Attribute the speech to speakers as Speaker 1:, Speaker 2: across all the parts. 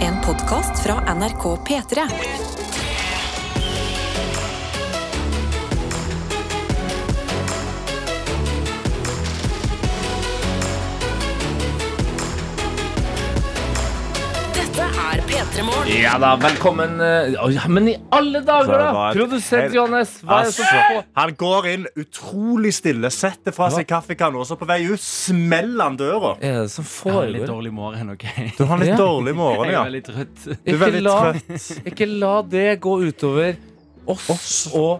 Speaker 1: En podkast fra NRK P3. Dette er P3 Morgen.
Speaker 2: Ja da, velkommen eh, å, ja, Men i alle dager, da!
Speaker 3: Bak-
Speaker 2: Produsent
Speaker 3: Hei.
Speaker 2: Johannes, hva er det som
Speaker 3: Altså,
Speaker 2: skjer på?
Speaker 3: Han går inn utrolig stille, setter fra seg kaffekanna, og så på vei ut smeller han døra.
Speaker 2: Er det som
Speaker 4: Jeg har litt
Speaker 2: foregår?
Speaker 4: dårlig morgen, OK?
Speaker 3: Du har litt
Speaker 2: Ja.
Speaker 3: dårlig morgen,
Speaker 4: Jeg
Speaker 3: ja.
Speaker 4: er litt trøtt.
Speaker 3: Du er
Speaker 2: Ikke
Speaker 3: veldig
Speaker 2: la,
Speaker 3: trøtt.
Speaker 2: ikke la det gå utover oss,
Speaker 3: Oss.
Speaker 2: og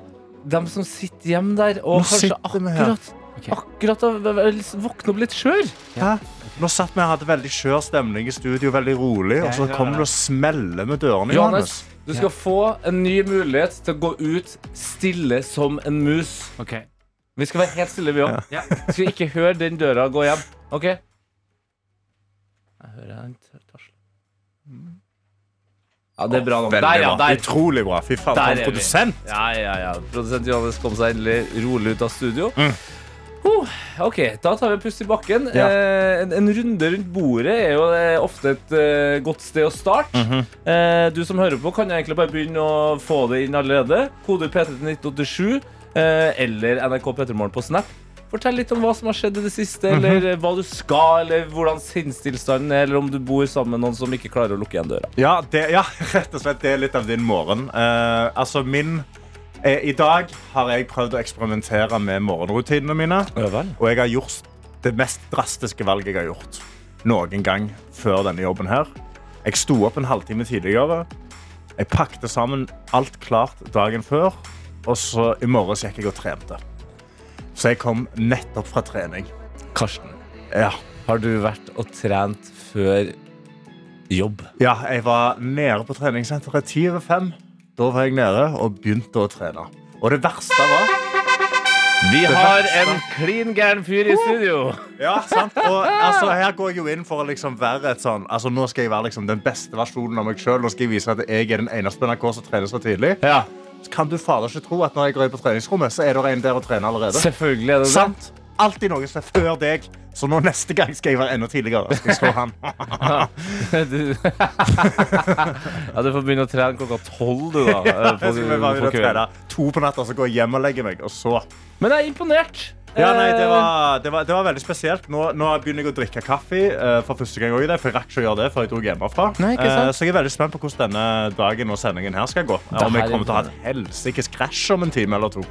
Speaker 2: dem som sitter hjemme der og
Speaker 3: Nå
Speaker 2: kanskje
Speaker 3: sitter vi her.
Speaker 2: akkurat
Speaker 4: Ok.
Speaker 2: Akkurat har v- v- våknet opp litt skjør.
Speaker 3: Hæ? Nå satt vi og hadde veldig skjør stemning i studio, veldig rolig, og så kommer du og smeller med dørene, Johannes.
Speaker 2: Johannes, du skal få en ny mulighet til å gå ut stille som en mus.
Speaker 4: OK.
Speaker 2: Vi skal være helt stille, vi òg.
Speaker 4: Ja.
Speaker 2: Vi skal ikke høre den døra gå hjem. OK? Jeg hører en tasle. Ja, det er bra nå.
Speaker 3: Veldig
Speaker 2: Der, ja.
Speaker 3: bra.
Speaker 2: Der.
Speaker 3: Utrolig bra. Fy
Speaker 2: Der
Speaker 3: faen,
Speaker 2: er
Speaker 3: for en
Speaker 2: vi.
Speaker 3: produsent.
Speaker 2: Ja, ja, ja. Produsent Johannes kom seg endelig rolig ut av studio. Oh, ok, da tar vi en pust i bakken.
Speaker 3: Ja.
Speaker 2: Eh, en, en runde rundt bordet er jo eh, ofte et eh, godt sted å starte. eh, du som hører på, kan egentlig bare begynne å få det inn allerede. Kode P3 til 1987 eh, eller NRK P3morgen på Snap. Fortell litt om hva som har skjedd i det siste, eller eh, hva du skal, eller hvordan sinnstilstanden er, eller om du bor sammen med noen som ikke klarer å lukke igjen døra.
Speaker 3: Ja, det, ja, rett og slett. Det er litt av din morgen. Eh, altså, min eh, I dag har jeg prøvd å eksperimentere med morgenrutinene mine.
Speaker 2: Ja vel.
Speaker 3: Og jeg har gjort det mest drastiske valget jeg har gjort noen gang før denne jobben her. Jeg sto opp en halvtime tidligere. Jeg pakket sammen alt klart dagen før. Og så i morges gikk jeg og trente. Så jeg kom nettopp fra trening.
Speaker 2: Karsten,
Speaker 3: Ja,
Speaker 2: har du vært og trent før jobb?
Speaker 3: ja jeg var nede på treningssenteret ti over fem. Da var jeg nede og begynte å trene. Og det verste var
Speaker 2: Vi
Speaker 3: har
Speaker 2: en klin gæren fyr i studio.
Speaker 3: Ja, sant? Og altså, her går jeg jo inn for å liksom være et sånn Altså, nå skal jeg være liksom den beste versjonen av meg sjøl. Nå skal jeg vise at jeg er den eneste på NRK som trener så tidlig.
Speaker 2: Ja,
Speaker 3: Så kan du fader ikke tro at når jeg går inn på treningsrommet, så er det en der og trener allerede.
Speaker 2: selvfølgelig er det det.
Speaker 3: Sant? Alltid noen som er før deg. Så nå neste gang skal jeg være enda tidligere. Skal jeg slå han.
Speaker 2: Du- ja, du får begynne å trene klokka tolv, du, da. eh, på-
Speaker 3: Jeg skal bare
Speaker 2: på
Speaker 3: begynne å
Speaker 2: kvelden.
Speaker 3: trene to på natta, så går jeg hjem og legger meg, og så
Speaker 2: Men jeg er imponert.
Speaker 3: Ja, nei, det,
Speaker 2: Eh,
Speaker 3: var, det, var, det var veldig spesielt. Nå, nå begynner jeg å drikke kaffe eh, for første gang. Også i det, for Jeg rakk ikke å gjøre det før jeg dro hjemmefra.
Speaker 2: Nei, ikke sant?
Speaker 3: Eh, så jeg er veldig spent på hvordan denne dagen og sendingen her skal gå. Eh,
Speaker 2: Det
Speaker 3: om
Speaker 2: her
Speaker 3: jeg
Speaker 2: er
Speaker 3: kommer til å ha et helsikes krasj om en time eller to.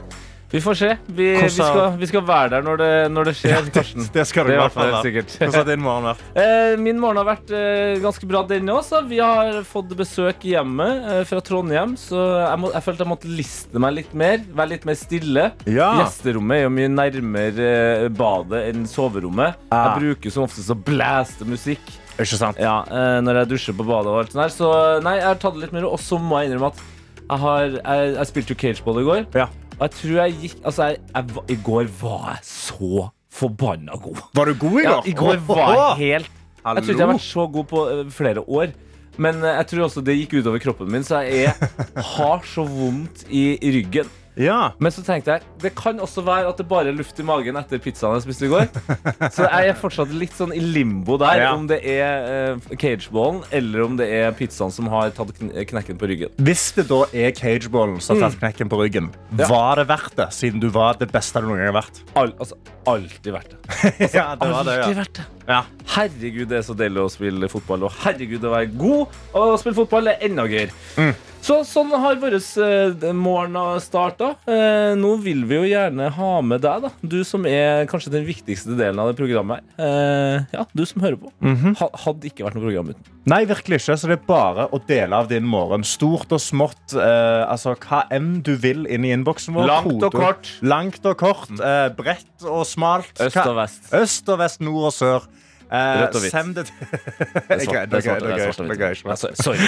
Speaker 2: Vi får se. Vi, vi,
Speaker 3: Hvordan-
Speaker 2: skal, vi skal være der når det, når det skjer. Karsten.
Speaker 3: Det skal
Speaker 2: Det
Speaker 3: det
Speaker 2: er
Speaker 3: i
Speaker 2: i
Speaker 3: hvert
Speaker 2: hvert
Speaker 3: fall
Speaker 2: fall
Speaker 3: være.
Speaker 2: sikkert.
Speaker 3: Hvordan har din morgen vært?
Speaker 2: Eh, Min morgen har vært eh, ganske bra denne også. Vi har fått besøk hjemme eh, fra Trondheim, så jeg, må, jeg følte jeg måtte liste meg litt mer. Være litt mer stille.
Speaker 3: Ja.
Speaker 2: Gjesterommet er jo mye nærmere eh, badet enn soverommet.
Speaker 3: Ah.
Speaker 2: Jeg bruker som oftest å blæste musikk
Speaker 3: Ikke sant?
Speaker 2: ja, eh, når jeg dusjer på badet. og alt sånt her Så eh, nei, jeg har tatt det litt mer, og så må jeg innrømme at jeg, har, jeg, jeg spilte jo cageball i går.
Speaker 3: Ja.
Speaker 2: Og jeg tror jeg gikk Altså, jeg, jeg, var- i går var jeg så forbanna god.
Speaker 3: Var du god i
Speaker 2: Ja,
Speaker 3: går?
Speaker 2: I går var jeg helt jeg
Speaker 3: Hallo?
Speaker 2: tror ikke jeg har vært så god på eh, flere år. Men eh, jeg tror også det gikk utover kroppen min, så jeg er, har så vondt i, i ryggen.
Speaker 3: Ja.
Speaker 2: Men så tenkte jeg det kan også være at det bare er luft i magen etter pizzaen jeg spiste i går. Så jeg er fortsatt litt sånn i limbo der,
Speaker 3: Ja.
Speaker 2: om det er eh, cageballen eller om det er pizzaen som har tatt kn knekken på ryggen.
Speaker 3: Hvis det da er cageballen som har tatt knekken på ryggen,
Speaker 2: Mm. Ja.
Speaker 3: var det verdt det? Siden du var det beste du noen gang har vært.
Speaker 2: Al altså, alltid verdt det.
Speaker 3: ja, det var det,
Speaker 2: Alltid
Speaker 3: ja.
Speaker 2: verdt det.
Speaker 3: ja.
Speaker 2: Herregud, det er så deilig å spille fotball, og herregud, å være god og spille fotball er enda gøyere.
Speaker 3: Mm.
Speaker 2: Så sånn har vår morgen starta. Eh, nå vil vi jo gjerne ha med deg, da. Du som er kanskje den viktigste delen av det programmet her. Eh, ja, du som hører på.
Speaker 3: Mhm.
Speaker 2: ha, hadde ikke vært noe program uten.
Speaker 3: Nei, virkelig ikke. Så det er bare å dele av din morgen. Stort og smått. Eh, altså, hva enn du vil inn i innboksen vår.
Speaker 2: Langt og
Speaker 3: Kodeord.
Speaker 2: kort. Mm.
Speaker 3: Langt og kort. Eh, bredt og smalt.
Speaker 2: Øst
Speaker 3: Hva-
Speaker 2: og vest.
Speaker 3: Øst og vest, nord og sør. Eh,
Speaker 2: Rødt og hvitt.
Speaker 3: Send det til
Speaker 2: Det
Speaker 3: Jeg greier- det greier- det greier- det greier ikke.
Speaker 2: Altså, sorry.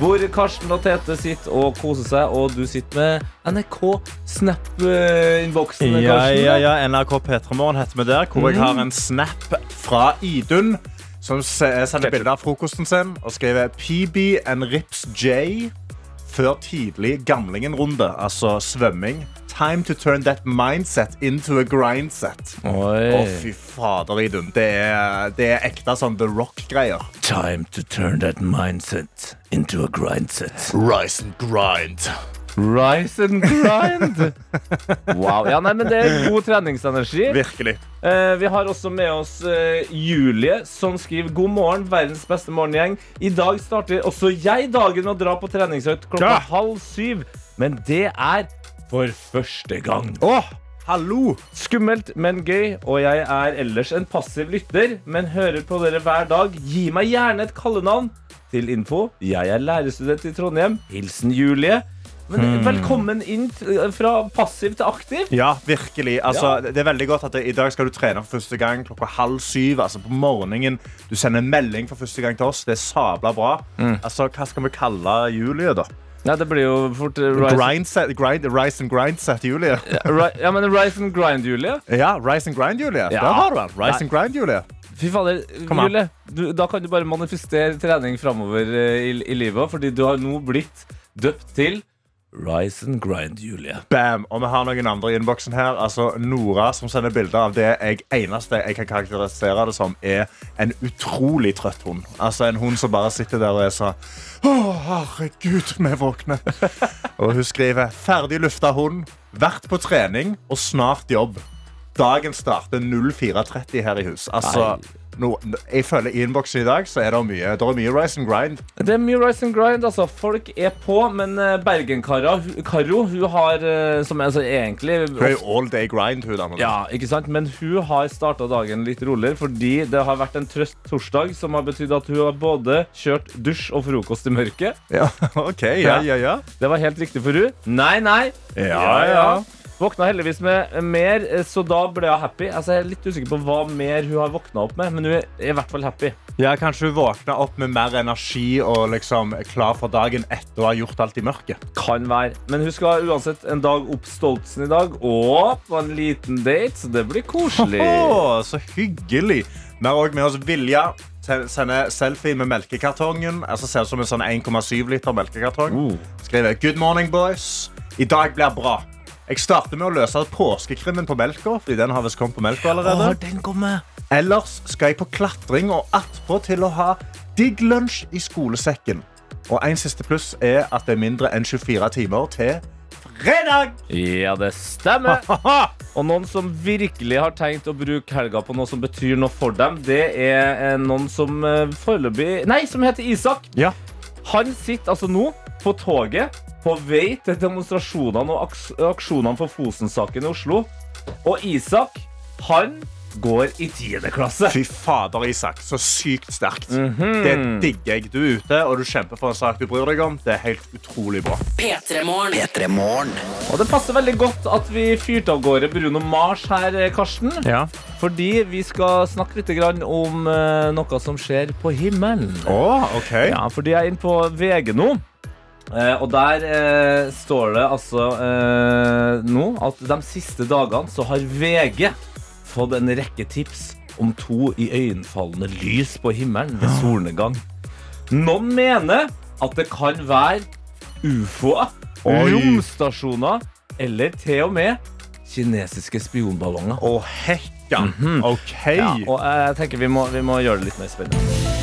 Speaker 2: Hvor Karsten og Tete sitter og koser seg, og du sitter med NRK eh, Snap-innboksen.
Speaker 3: Ja, ja, ja. NRK P3morgen heter vi der, hvor jeg har en snap fra Idun. eh, Som se- sender bilder av frokosten sin og skriver PB and Rips J. før tidlig gamlingen-runde, altså svømming. Time to turn that mindset into a grindset. Å, fy fader, Idun. Det er, det er ekte sånn The Rock-greier.
Speaker 2: Time to turn that mindset into a grindset.
Speaker 3: Rise and grind.
Speaker 2: Rise and grind. Wow. Ja, nei, men det er god treningsenergi.
Speaker 3: Virkelig.
Speaker 2: Eh, vi har også med oss eh, Julie, som skriver God morgen, verdens beste morgengjeng. I dag starter også jeg dagen med å dra på treningsøkt klokka
Speaker 3: Ja.
Speaker 2: halv syv. Men det er for første gang.
Speaker 3: Å, hallo!
Speaker 2: Skummelt, men gøy, og jeg er ellers en passiv lytter, men hører på dere hver dag. Gi meg gjerne et kallenavn. Til info, jeg er lærerstudent i Trondheim. Hilsen Julie. Men velkommen inn t- fra passiv til aktiv.
Speaker 3: Ja, virkelig. Altså, Det er veldig godt at det, I dag skal du trene for første gang klokka halv syv. Altså på morgenen Du sender melding for første gang til oss. Det er sabla bra.
Speaker 2: Mm.
Speaker 3: Altså, Hva skal vi kalle Julie, da?
Speaker 2: Nei, det blir jo fort eh, rise,
Speaker 3: Grindset, grind, rise and grind-set Julie.
Speaker 2: ri, Ja, men rise and grind, Julie.
Speaker 3: Ja, Rise and grind, Julie.
Speaker 2: Ja.
Speaker 3: Der har du den. Rise
Speaker 2: Nei.
Speaker 3: and grind, Julie.
Speaker 2: Fy fader,
Speaker 3: Kom an.
Speaker 2: Julie. Du, da kan du bare manifestere trening framover eh, i, i livet, fordi du har nå blitt døpt til Rise and grind, Julie.
Speaker 3: Bam! Og vi har noen andre i innboksen her. Altså Nora, som sender bilder av det jeg eneste jeg kan karakterisere det som, er en utrolig trøtt hund. Altså En hund som bare sitter der og er sånn Å, herregud, vi er våkne. og hun skriver ferdig lufta hund, vært på trening og snart jobb. Dagen starter 04.30 her i hus. Altså, nå- jeg føler I innboksen i dag så er det mye, det er mye rise and grind.
Speaker 2: Det er mye rise and grind, altså. Folk er på, men eh, Bergen-Karo Karo, hun har eh, som altså, egentlig
Speaker 3: Hun er jo all day grind. Hun, damen.
Speaker 2: ja, ikke sant? Men hun har starta dagen litt roligere fordi det har vært en trøst torsdag som har betydd at hun har både kjørt dusj og frokost i mørket.
Speaker 3: Ja, OK. Ja, ja, ja.
Speaker 2: Det var helt riktig for hun. Nei, nei.
Speaker 3: Ja, ja.
Speaker 2: Våkna heldigvis med mer, eh, så da ble hun happy. Altså, jeg er litt usikker på hva mer hun har våkna opp med, men hun er i hvert fall happy.
Speaker 3: Ja, Kanskje hun våkner opp med mer energi og liksom er klar for dagen etter å ha gjort alt i mørket.
Speaker 2: Kan være. Men hun skal uansett en dag opp Stoltsen i dag og på en liten date, så det blir koselig.
Speaker 3: Å, så hyggelig! Vi har òg med oss Vilja. Sen- Sender selfie med melkekartongen. Altså Ser ut som en sånn 1,7 liter melkekartong.
Speaker 2: Oh.
Speaker 3: Skriver 'Good morning, boys'. I dag blir bra. Jeg starter med å løse påskekrimmen på melka. Fordi den har visst kommet på melka allerede
Speaker 2: den kommer.
Speaker 3: Ellers skal jeg på klatring og attpåtil å ha digg lunsj i skolesekken. Og en siste pluss er at det er mindre enn 24 timer til fredag!
Speaker 2: Ja, det stemmer. Og noen som virkelig har tenkt å bruke helga på noe som betyr noe for dem, det er eh, noen som eh, foreløpig Nei, som heter Isak.
Speaker 3: Ja.
Speaker 2: Han sitter altså nå på toget på vei til demonstrasjonene og aks aksjonene for Fosen-saken i Oslo. Og Isak, han går i tiende klasse.
Speaker 3: Fy fader, Isak. Så sykt sterkt.
Speaker 2: Mhm.
Speaker 3: Det digger jeg. Du er ute, og du kjemper for en sak du bryr deg om. Det er helt utrolig bra.
Speaker 1: P3-morgen.
Speaker 2: Og det passer veldig godt at vi fyrte av gårde Bruno Mars her, eh, Karsten.
Speaker 3: Ja.
Speaker 2: Fordi vi skal snakke litt grann om eh, noe som skjer på himmelen.
Speaker 3: OK.
Speaker 2: Ja, fordi jeg er inne på VG nå. eh, og der eh, står det altså eh, nå at de siste dagene så har VG fått en rekke tips om to iøynefallende lys på himmelen ved solnedgang. Noen mener at det kan være ufoer,
Speaker 3: Oi.
Speaker 2: romstasjoner eller til og med kinesiske spionballonger.
Speaker 3: Og hekka. OK.
Speaker 2: Mhm. Ja, og jeg tenker vi må, vi må gjøre det litt mer spennende.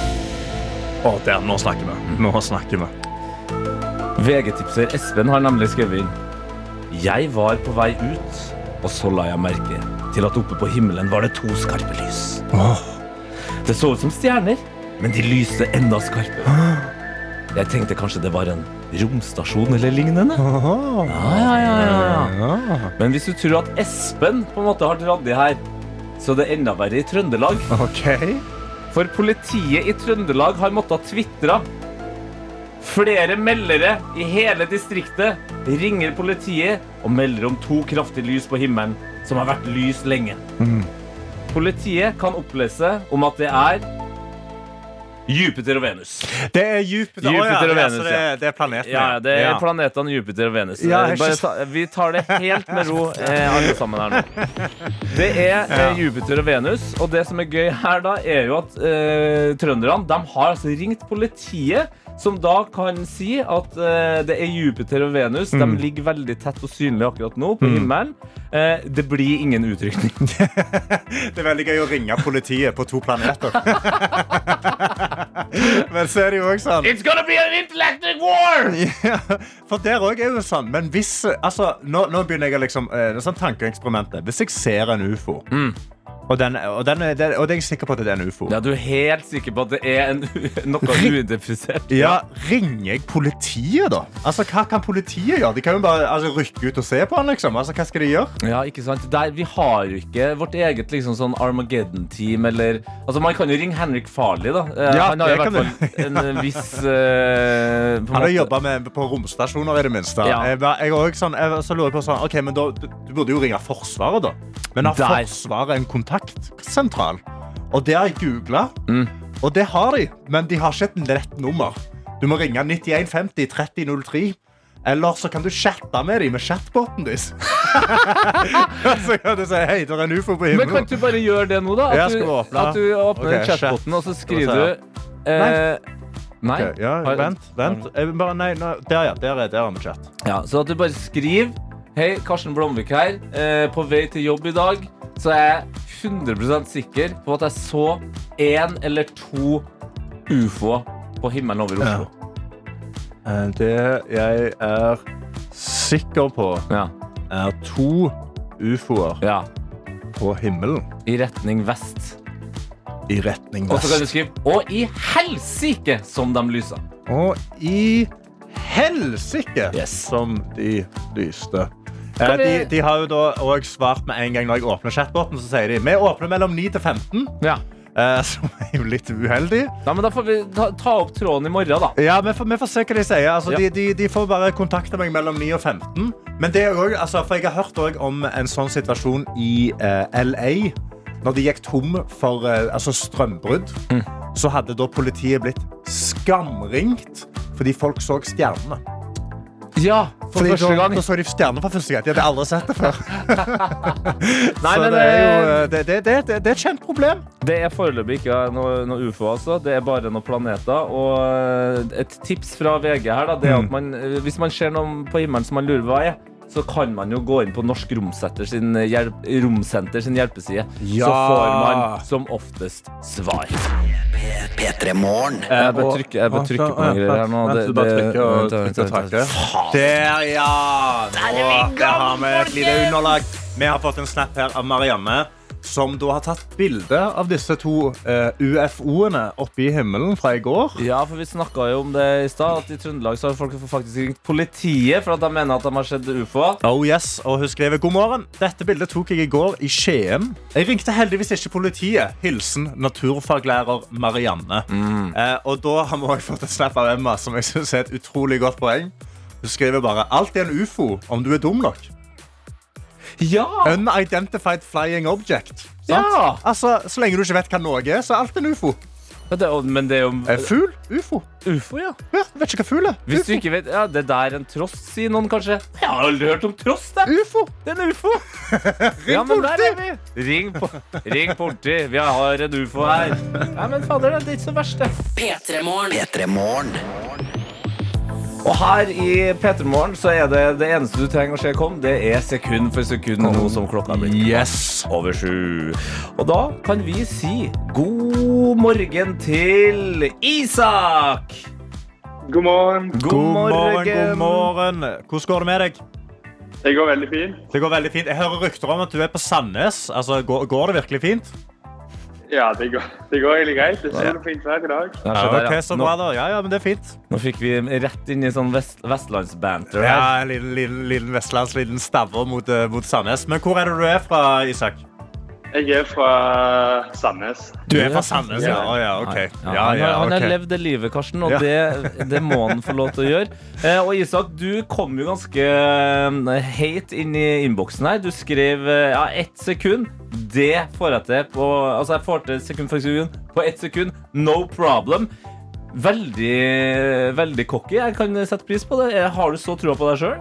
Speaker 3: Å, der, nå snakker vi. Nå snakker vi.
Speaker 2: VG-tipser Espen har nemlig skrevet inn. Jeg var på vei ut, og så la jeg merke til at oppe på himmelen var det to skarpe lys. Det så ut som stjerner, men de lyste enda skarpere. Jeg tenkte kanskje det var en romstasjon eller lignende. Ja, ja, ja, ja, ja. Men hvis du tror at Espen på en måte har dratt det her, så er det enda verre i Trøndelag.
Speaker 3: OK.
Speaker 2: For politiet i Trøndelag har måttet tvitre. Flere meldere i hele distriktet ringer politiet og melder om to kraftige lys på himmelen, som har vært lys lenge. Politiet kan opplese om at det er Jupiter og Venus.
Speaker 3: Det er Jupiter, Å, ja.
Speaker 2: Jupiter og
Speaker 3: Ja,
Speaker 2: Venus,
Speaker 3: så det, er- det er planeten.
Speaker 2: Ja, ja, det er planetene Jupiter og Venus.
Speaker 3: Ja,
Speaker 2: Eh,
Speaker 3: jeg
Speaker 2: Bare
Speaker 3: skjønner.
Speaker 2: ta, vi tar det helt med ro, eh, alle sammen her nå. Det er eh, Jupiter og Venus, og det som er gøy her, da, er jo at eh, trønderne de har altså ringt politiet. Som da kan si at eh, det er Jupiter og Venus. De ligger veldig tett og synlig akkurat nå på himmelen. Eh, det blir ingen utrykning.
Speaker 3: Det er veldig gøy å ringe politiet på to planeter. men så er det jo også sånn
Speaker 2: It's gonna be an intergalactic war!
Speaker 3: Ja, for der òg er jo sånn. Men hvis altså, nå, nå begynner jeg å liksom eh, Det er sånn tankeeksperimentet. Hvis jeg ser en ufo, og, den, og, den er, den, og det er jeg sikker på at det er en ufo
Speaker 2: Mm. Ja, du er helt sikker på at det er en, noe udifisert?
Speaker 3: Ja, Ringer jeg politiet, da? Altså, Hva kan politiet gjøre? De kan jo bare altså, rykke ut og se på han, liksom. Altså, Hva skal de gjøre?
Speaker 2: Ja, ikke sant? Der, vi har jo ikke vårt eget liksom, sånn Armageddon-team eller Altså, Man kan jo ringe Henrik Farley, da. Eh,
Speaker 3: Ja,
Speaker 2: han har jo i
Speaker 3: det
Speaker 2: hvert
Speaker 3: kan
Speaker 2: fall en eh, viss eh, på en
Speaker 3: Han har
Speaker 2: måte-
Speaker 3: jobba med- på romstasjoner, i det minste.
Speaker 2: Ja.
Speaker 3: Jeg, var- jeg, var også sånn, jeg var- så lurer jeg på sånn, ok, men da, du, du burde jo ringe Forsvaret, da. Men har
Speaker 2: Der.
Speaker 3: Forsvaret en kontaktsentral? Og det har jeg googla,
Speaker 2: Mm.
Speaker 3: og det har de. Men de har ikke et lett nummer. Du må ringe 9150 3003. Eller så kan du chatte med dem med chatboten deres. så kan du si hei, det er en ufo på
Speaker 2: Men kan
Speaker 3: himmelen.
Speaker 2: ikke du bare gjøre det nå, da? At
Speaker 3: Jeg skal
Speaker 2: du,
Speaker 3: åpne.
Speaker 2: at du åpner
Speaker 3: Ok,
Speaker 2: chatboten, og så skriver
Speaker 3: Skal
Speaker 2: du eh, Nei.
Speaker 3: Ok, Ja,
Speaker 2: Har-
Speaker 3: vent, vent. Jeg, bare, nei, nei, der, ja. Der er, der er vi chat.
Speaker 2: Ja, så at du bare skriver Hei, Karsten Blomvik her. Eh, på vei til jobb i dag så er jeg 100 sikker på at jeg så én eller to ufoer på himmelen over Oslo.
Speaker 3: Eh, Det jeg er sikker på,
Speaker 2: Ja.
Speaker 3: er to ufoer
Speaker 2: ja.
Speaker 3: på himmelen
Speaker 2: I retning vest.
Speaker 3: i retning
Speaker 2: Og så kan du
Speaker 3: vest.
Speaker 2: skrive Og i helsike som de lyser.
Speaker 3: Og i helsike
Speaker 2: Yes.
Speaker 3: som de lyste. Eh,
Speaker 2: Kan vi-
Speaker 3: De, de har jo da òg svart med en gang når jeg åpner chatboten. Så sier de vi åpner mellom 9 til 15,
Speaker 2: Ja.
Speaker 3: eh, som er jo litt uheldig.
Speaker 2: ja, men Da får vi ta, ta opp tråden i morgen, da.
Speaker 3: Ja, vi får, vi får se hva de sier. Altså,
Speaker 2: Ja.
Speaker 3: de, de, de får bare kontakte meg mellom 9 og 15. Men det er jo også, altså, for jeg har hørt også om en sånn situasjon i eh, LA. Når de gikk tom for eh, altså strømbrudd,
Speaker 2: Mm.
Speaker 3: så hadde da politiet blitt skamringt fordi folk så stjernene.
Speaker 2: Ja, sånn- for
Speaker 3: Fordi
Speaker 2: første
Speaker 3: da,
Speaker 2: gang.
Speaker 3: da så de stjernene for første gang. De hadde aldri sett det før.
Speaker 2: Nei,
Speaker 3: så
Speaker 2: men
Speaker 3: det er jo
Speaker 2: det-
Speaker 3: eh, det, det, det, det, det er et kjent problem.
Speaker 2: Det er foreløpig ikke noe, noe ufo, altså. Det er bare noen planeter. Og eh, et tips fra VG her, da, det
Speaker 3: Mm.
Speaker 2: er at man, eh, hvis man ser noe på himmelen som man lurer på hva er, så kan man jo gå inn på Norsk Romsenter sin, eh, hjelp, Romsenter sin hjelpeside. Så
Speaker 3: Ja.
Speaker 2: får man som oftest svar. Jeg bare trykker, jeg bare trykker på noen greier her nå.
Speaker 3: Vent,
Speaker 2: Det-
Speaker 3: du bare
Speaker 2: det-
Speaker 3: trykker
Speaker 2: vent,
Speaker 3: og
Speaker 2: vent,
Speaker 3: trykker
Speaker 2: vent,
Speaker 3: tak
Speaker 2: vent.
Speaker 3: der. Der, ja! Nå der har vi et lite underlag. Vi har fått en snap her av Marianne, som da har tatt bilde av disse to eh, UFO-ene oppe i himmelen fra i går.
Speaker 2: Ja, for vi snakka jo om det i stad, at i Trøndelag så har folk faktisk ringt politiet for at de mener at de har sett ufoer.
Speaker 3: Oh yes, og hun skriver God morgen. Dette bildet tok jeg i går i Skien. Jeg ringte heldigvis ikke politiet. Hilsen naturfaglærer Marianne.
Speaker 2: Mm.
Speaker 3: Eh, og da har vi også fått en snap av Emma, som jeg synes er et utrolig godt poeng. Hun skriver bare alt er en ufo om du er dum nok.
Speaker 2: Ja!
Speaker 3: Unidentified flying object. Sant?
Speaker 2: Ja.
Speaker 3: Altså, så lenge du ikke vet hva noe er, så er alt en ufo.
Speaker 2: Men det, men det er
Speaker 3: Eh,
Speaker 2: jo
Speaker 3: fugl? Ufo.
Speaker 2: ufo, ja.
Speaker 3: Ja, vet ikke hva fugl er.
Speaker 2: Hvis du
Speaker 3: Ufo.
Speaker 2: ikke vet, ja, Det der er en trost, sier noen kanskje. Jeg har aldri hørt om trost. jeg.
Speaker 3: Ufo.
Speaker 2: Det er en ufo. ja, men der er vi. Ring, po ring politi. Vi har en ufo her. Nei, men fader, det er ikke så verst, det.
Speaker 1: P3-morgen.
Speaker 2: Og her i P3 Morgen så er det det eneste du trenger å se kom, det er sekund for sekund nå som klokka er blitt
Speaker 3: Yes.
Speaker 2: over sju. Og da kan vi si god morgen til Isak.
Speaker 4: God morgen.
Speaker 2: God,
Speaker 3: God morgen, god morgen. Hvordan går det med deg?
Speaker 4: Det går veldig fint.
Speaker 3: Det går veldig fint. Jeg hører rykter om at du er på Sandnes. Altså, går, går det virkelig fint?
Speaker 4: Ja, det går, det går egentlig greit. Det er solfint hver dag.
Speaker 2: Ja,
Speaker 3: Ja,
Speaker 2: se der,
Speaker 3: ok,
Speaker 2: ja.
Speaker 3: så
Speaker 2: Nå,
Speaker 3: bra da. Ja, ja, men det er fint.
Speaker 2: nå fikk vi rett inn i sånn vest vestlandsbanter. her.
Speaker 3: Ja, en liten, liten, liten vestlands liten stavre mot, eh, mot Sandnes. Men hvor er det du er fra, Isak?
Speaker 4: Jeg er fra Sandnes.
Speaker 3: Du er fra Sandnes, ja. Å, ja, ok.
Speaker 2: Ja,
Speaker 3: Ja,
Speaker 2: han, har,
Speaker 3: ja,
Speaker 2: han har
Speaker 3: ok.
Speaker 2: levd det livet, Karsten, og
Speaker 3: Ja.
Speaker 2: det, det må han få lov til å gjøre. Eh, og Isak, du kom jo ganske eh, heit inn i innboksen her. Du skrev eh, ja, ett sekund. Det får jeg til på Altså, jeg får til sekund for sekund på ett sekund. No problem. Veldig veldig cocky. Jeg kan sette pris på det. Eh, Har du så trua på deg sjøl?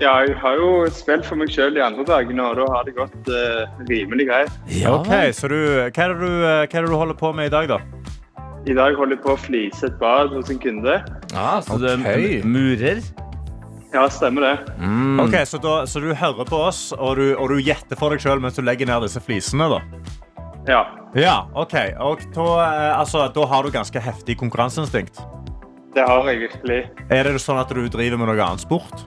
Speaker 4: Ja, jeg har jo spilt for meg sjøl de andre dagene, og da har det gått eh, rimelig greit.
Speaker 3: Ok, så du, hva, er det du, eh, hva er det du holder på med i dag, da?
Speaker 4: I dag holder jeg på å flise et bad hos en kunde.
Speaker 2: Ja, så du
Speaker 3: Ok.
Speaker 2: er murer?
Speaker 4: Ja, stemmer det.
Speaker 2: Mm.
Speaker 3: Ok, så, da, så du hører på oss, og du, og du gjetter for deg sjøl mens du legger ned disse flisene? da?
Speaker 4: Ja.
Speaker 3: Ja, ok. Og da, eh, altså, da har du ganske heftig konkurranseinstinkt.
Speaker 4: Det har jeg virkelig.
Speaker 3: Er det sånn at du driver med noe annet sport?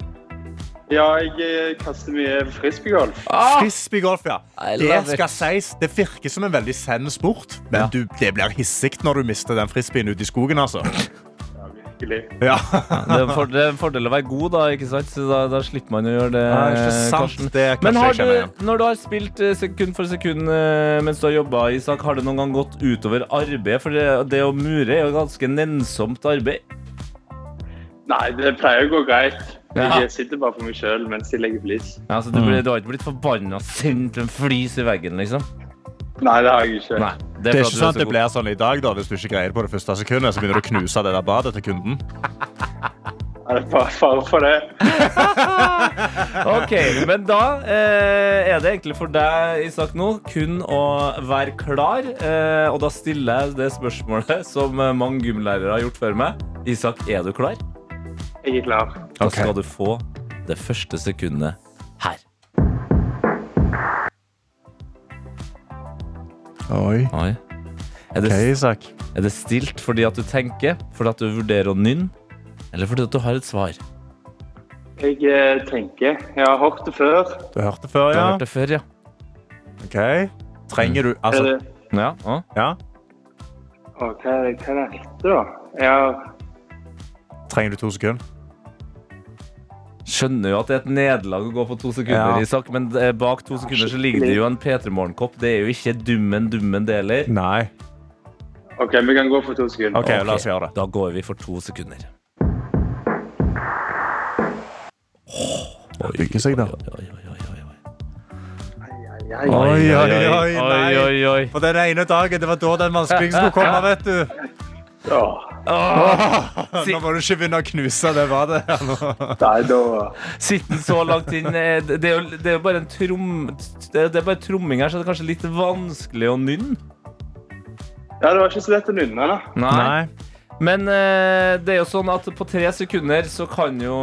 Speaker 4: Ja, jeg eh, kaster mye frisbeegolf.
Speaker 3: Frisbeegolf, ja.
Speaker 2: I
Speaker 3: Det
Speaker 2: love
Speaker 3: skal
Speaker 2: it.
Speaker 3: sies, det virker som en veldig send sport, men
Speaker 2: Ja.
Speaker 3: du, det blir hissig når du mister den frisbeen ute i skogen, altså.
Speaker 4: Ja, virkelig.
Speaker 3: Ja,
Speaker 2: Det er, en for, det er en fordel å være god, da. ikke sant? Så da, da slipper man å gjøre det.
Speaker 3: Nei, ikke sant.
Speaker 2: Karsten.
Speaker 3: Det er kanskje
Speaker 2: Men har
Speaker 3: jeg kjenner
Speaker 2: du, når du har spilt eh, sekund for sekund eh, mens du har jobba, Isak, har det noen gang gått utover arbeid? For det, det å mure er jo ganske nennsomt arbeid.
Speaker 4: Nei, det pleier å gå greit.
Speaker 2: Ja.
Speaker 4: Jeg sitter bare for meg sjøl mens jeg legger flis.
Speaker 2: Ja, så du, ble, du har ikke blitt forbanna sendt en flis i veggen, liksom?
Speaker 4: Nei, det har jeg ikke.
Speaker 2: Nei.
Speaker 3: det
Speaker 2: for at
Speaker 3: er ikke
Speaker 2: du
Speaker 3: sånn at
Speaker 2: så
Speaker 3: det
Speaker 2: god.
Speaker 3: blir sånn i dag, da, hvis du ikke greier det på det første sekundet, så begynner du å knuse det der badet til kunden.
Speaker 4: Er det bare fare for det?
Speaker 2: Ok, men da eh, er det egentlig for deg, Isak, nå kun å være klar. Eh, og da stiller jeg det spørsmålet som eh, mange gymlærere har gjort før meg. Isak, er du klar?
Speaker 4: Jeg er klar.
Speaker 2: Da
Speaker 3: Ok.
Speaker 2: skal du få det første sekundet her.
Speaker 3: Oi.
Speaker 2: Oi. Er, det,
Speaker 3: Ok, Isak.
Speaker 2: er det stilt fordi at du tenker, fordi at du vurderer å nynne, eller fordi at du har et svar?
Speaker 4: Jeg eh, tenker. Jeg har hørt det før.
Speaker 3: Du hørte før,
Speaker 2: Du
Speaker 3: ja?
Speaker 2: har hørt det Mm. før, ja.
Speaker 3: Ok. Trenger du
Speaker 4: Er
Speaker 3: Altså,
Speaker 4: det...
Speaker 2: Ja, ja.
Speaker 3: ja.
Speaker 4: Å, hva er det hva er det rette, da? Jeg har...
Speaker 3: Trenger du to sekunder?
Speaker 2: Skjønner jo at det er et nederlag å gå på to sekunder,
Speaker 3: Ja.
Speaker 2: Isak, men eh, bak to sekunder så ligger det jo en P3 Morgenkopp. Det er jo ikke dummen dummen det heller.
Speaker 3: Nei.
Speaker 4: OK, vi kan gå for to sekunder.
Speaker 3: Ok, la oss gjøre det.
Speaker 2: Da går vi for to sekunder.
Speaker 3: Det bygger seg, da.
Speaker 2: Oi, oi, oi, oi, oi.
Speaker 4: Ai, ai,
Speaker 3: Oi, oi, oi,
Speaker 2: Oi, oi,
Speaker 3: nei.
Speaker 2: oi, oi.
Speaker 3: På den ene dagen, det var da den vanskeligste skulle komme, vet du.
Speaker 4: ai. Åh,
Speaker 3: Nå må du ikke begynne å knuse det badet. her nå.
Speaker 4: Nei, da
Speaker 2: Sitter den så langt inn eh, Det det er jo, det er jo bare en trom... Det det er bare tromming her, så det er kanskje litt vanskelig å nynne.
Speaker 4: Ja, det var ikke så lett å nynne, da.
Speaker 3: Nei.
Speaker 2: Men eh, det er jo sånn at på tre sekunder så kan jo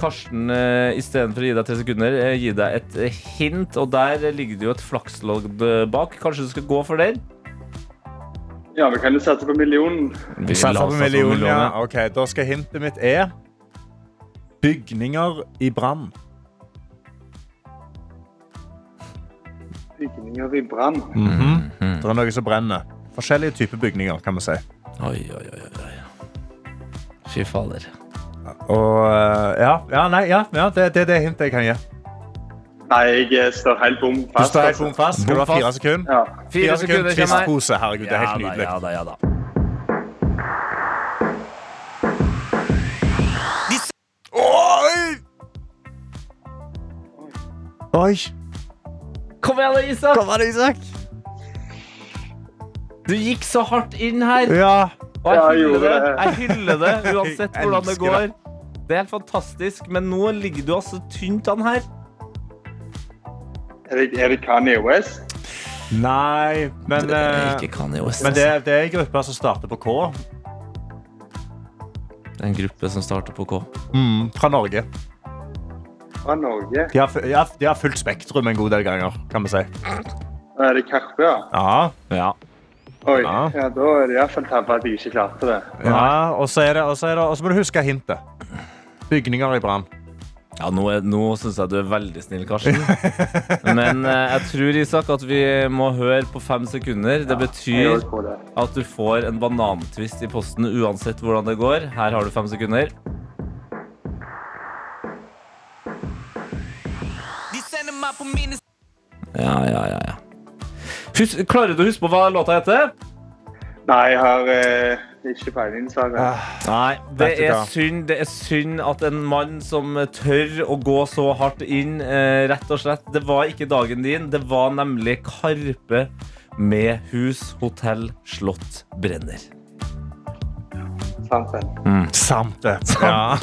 Speaker 2: Karsten eh, istedenfor å gi deg tre sekunder, eh, gi deg et eh, hint. Og der ligger det jo et flakslodd eh, bak. Kanskje du skal gå for den?
Speaker 4: Ja, vi kan jo satse på millionen.
Speaker 2: Vi
Speaker 3: Satser på millionen, ja. Ok, da skal hintet mitt er Bygninger i brann.
Speaker 4: Bygninger i brann.
Speaker 3: Mm.
Speaker 2: Mm.
Speaker 3: Det er noe som brenner. Forskjellige typer bygninger, kan vi si.
Speaker 2: Oi, oi, oi, oi, oi. Fy fader.
Speaker 3: Og eh, ja, ja, nei, ja, ja det, det er det hintet jeg kan gi.
Speaker 4: Nei, jeg eh, står helt bom
Speaker 3: Du
Speaker 4: fast.
Speaker 3: står helt
Speaker 4: altså.
Speaker 3: bom fast. Skal du ha
Speaker 2: Bom
Speaker 3: fire
Speaker 2: fast.
Speaker 3: sekunder?
Speaker 4: Ja.
Speaker 2: Fire sekunder kommer.
Speaker 3: Twistpose. Herregud, det er helt nydelig.
Speaker 2: Ja da, ja da.
Speaker 3: Oi! Oi.
Speaker 2: Kom igjen, da, Isak.
Speaker 3: Kom an, Isak.
Speaker 2: Du gikk så hardt inn her.
Speaker 3: Ja.
Speaker 2: Og
Speaker 4: Ja,
Speaker 2: jeg
Speaker 4: jeg
Speaker 2: hyller det.
Speaker 4: gjorde
Speaker 2: Jeg hyller det uansett
Speaker 3: Jeg
Speaker 2: hvordan det
Speaker 3: elsker
Speaker 2: går.
Speaker 3: det.
Speaker 2: Det er helt fantastisk, men nå ligger du altså tynt an her.
Speaker 4: Er det, er det Kanye West?
Speaker 3: Nei, men, eh,
Speaker 2: Kanye West.
Speaker 3: men det, det er en gruppe som starter på K.
Speaker 2: Det er en gruppe som starter på K. Mm.
Speaker 3: Fra Norge.
Speaker 4: Fra Norge?
Speaker 3: De har, fu- de har, de har fulgt spektrum en god del ganger, kan vi si.
Speaker 4: Er det Karpe, ja?
Speaker 3: Ja,
Speaker 2: Ja.
Speaker 4: Oi,
Speaker 3: Ja.
Speaker 4: ja, da er det iallfall tabba at jeg ikke klarte det.
Speaker 3: ja og så er det, og så er det, og så må du huske hintet. Bygninger i brann.
Speaker 2: Ja, Nå, er- nå syns jeg du er veldig snill, Karsten. Men eh, jeg tror Isak, at vi må høre på fem sekunder. Det
Speaker 4: Jeg
Speaker 2: betyr
Speaker 4: også tror det.
Speaker 2: at du får en banantvist i posten uansett hvordan det går. Her har du fem sekunder. Ja, ja, ja, ja. Hus Klarer du å huske på hva låta heter?
Speaker 4: Nei, jeg har eh, ikke peiling, dessverre.
Speaker 3: Ah.
Speaker 2: Nei, det
Speaker 3: Vet du
Speaker 2: er
Speaker 3: hva?
Speaker 2: synd. Det er synd at en mann som tør å gå så hardt inn, eh, rett og slett Det var ikke dagen din. Det var nemlig Karpe med Hus, hotell, slott, brenner.
Speaker 4: sant det.
Speaker 3: Sant det. Ja.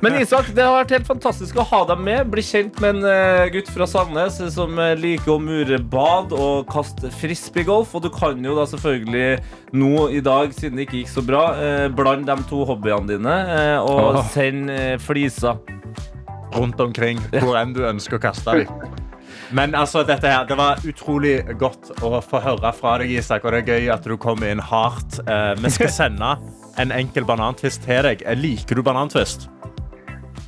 Speaker 2: Men Isak, det har vært helt fantastisk å ha deg med. Bli kjent med en eh, gutt fra Sandnes som eh, liker å mure bad og kaste frisbeegolf. Og du kan jo da selvfølgelig nå i dag, siden det ikke gikk så bra, eh, blande de to hobbyene dine eh, og
Speaker 3: Åh.
Speaker 2: sende eh, fliser.
Speaker 3: Rundt omkring hvor enn du ønsker å kaste dem. Men altså, dette her, det var utrolig godt å få høre fra deg, Isak. Og det er gøy at du kom inn hardt. Eh, vi skal sende en enkel banantvist til deg. Eh, Liker du banantvist?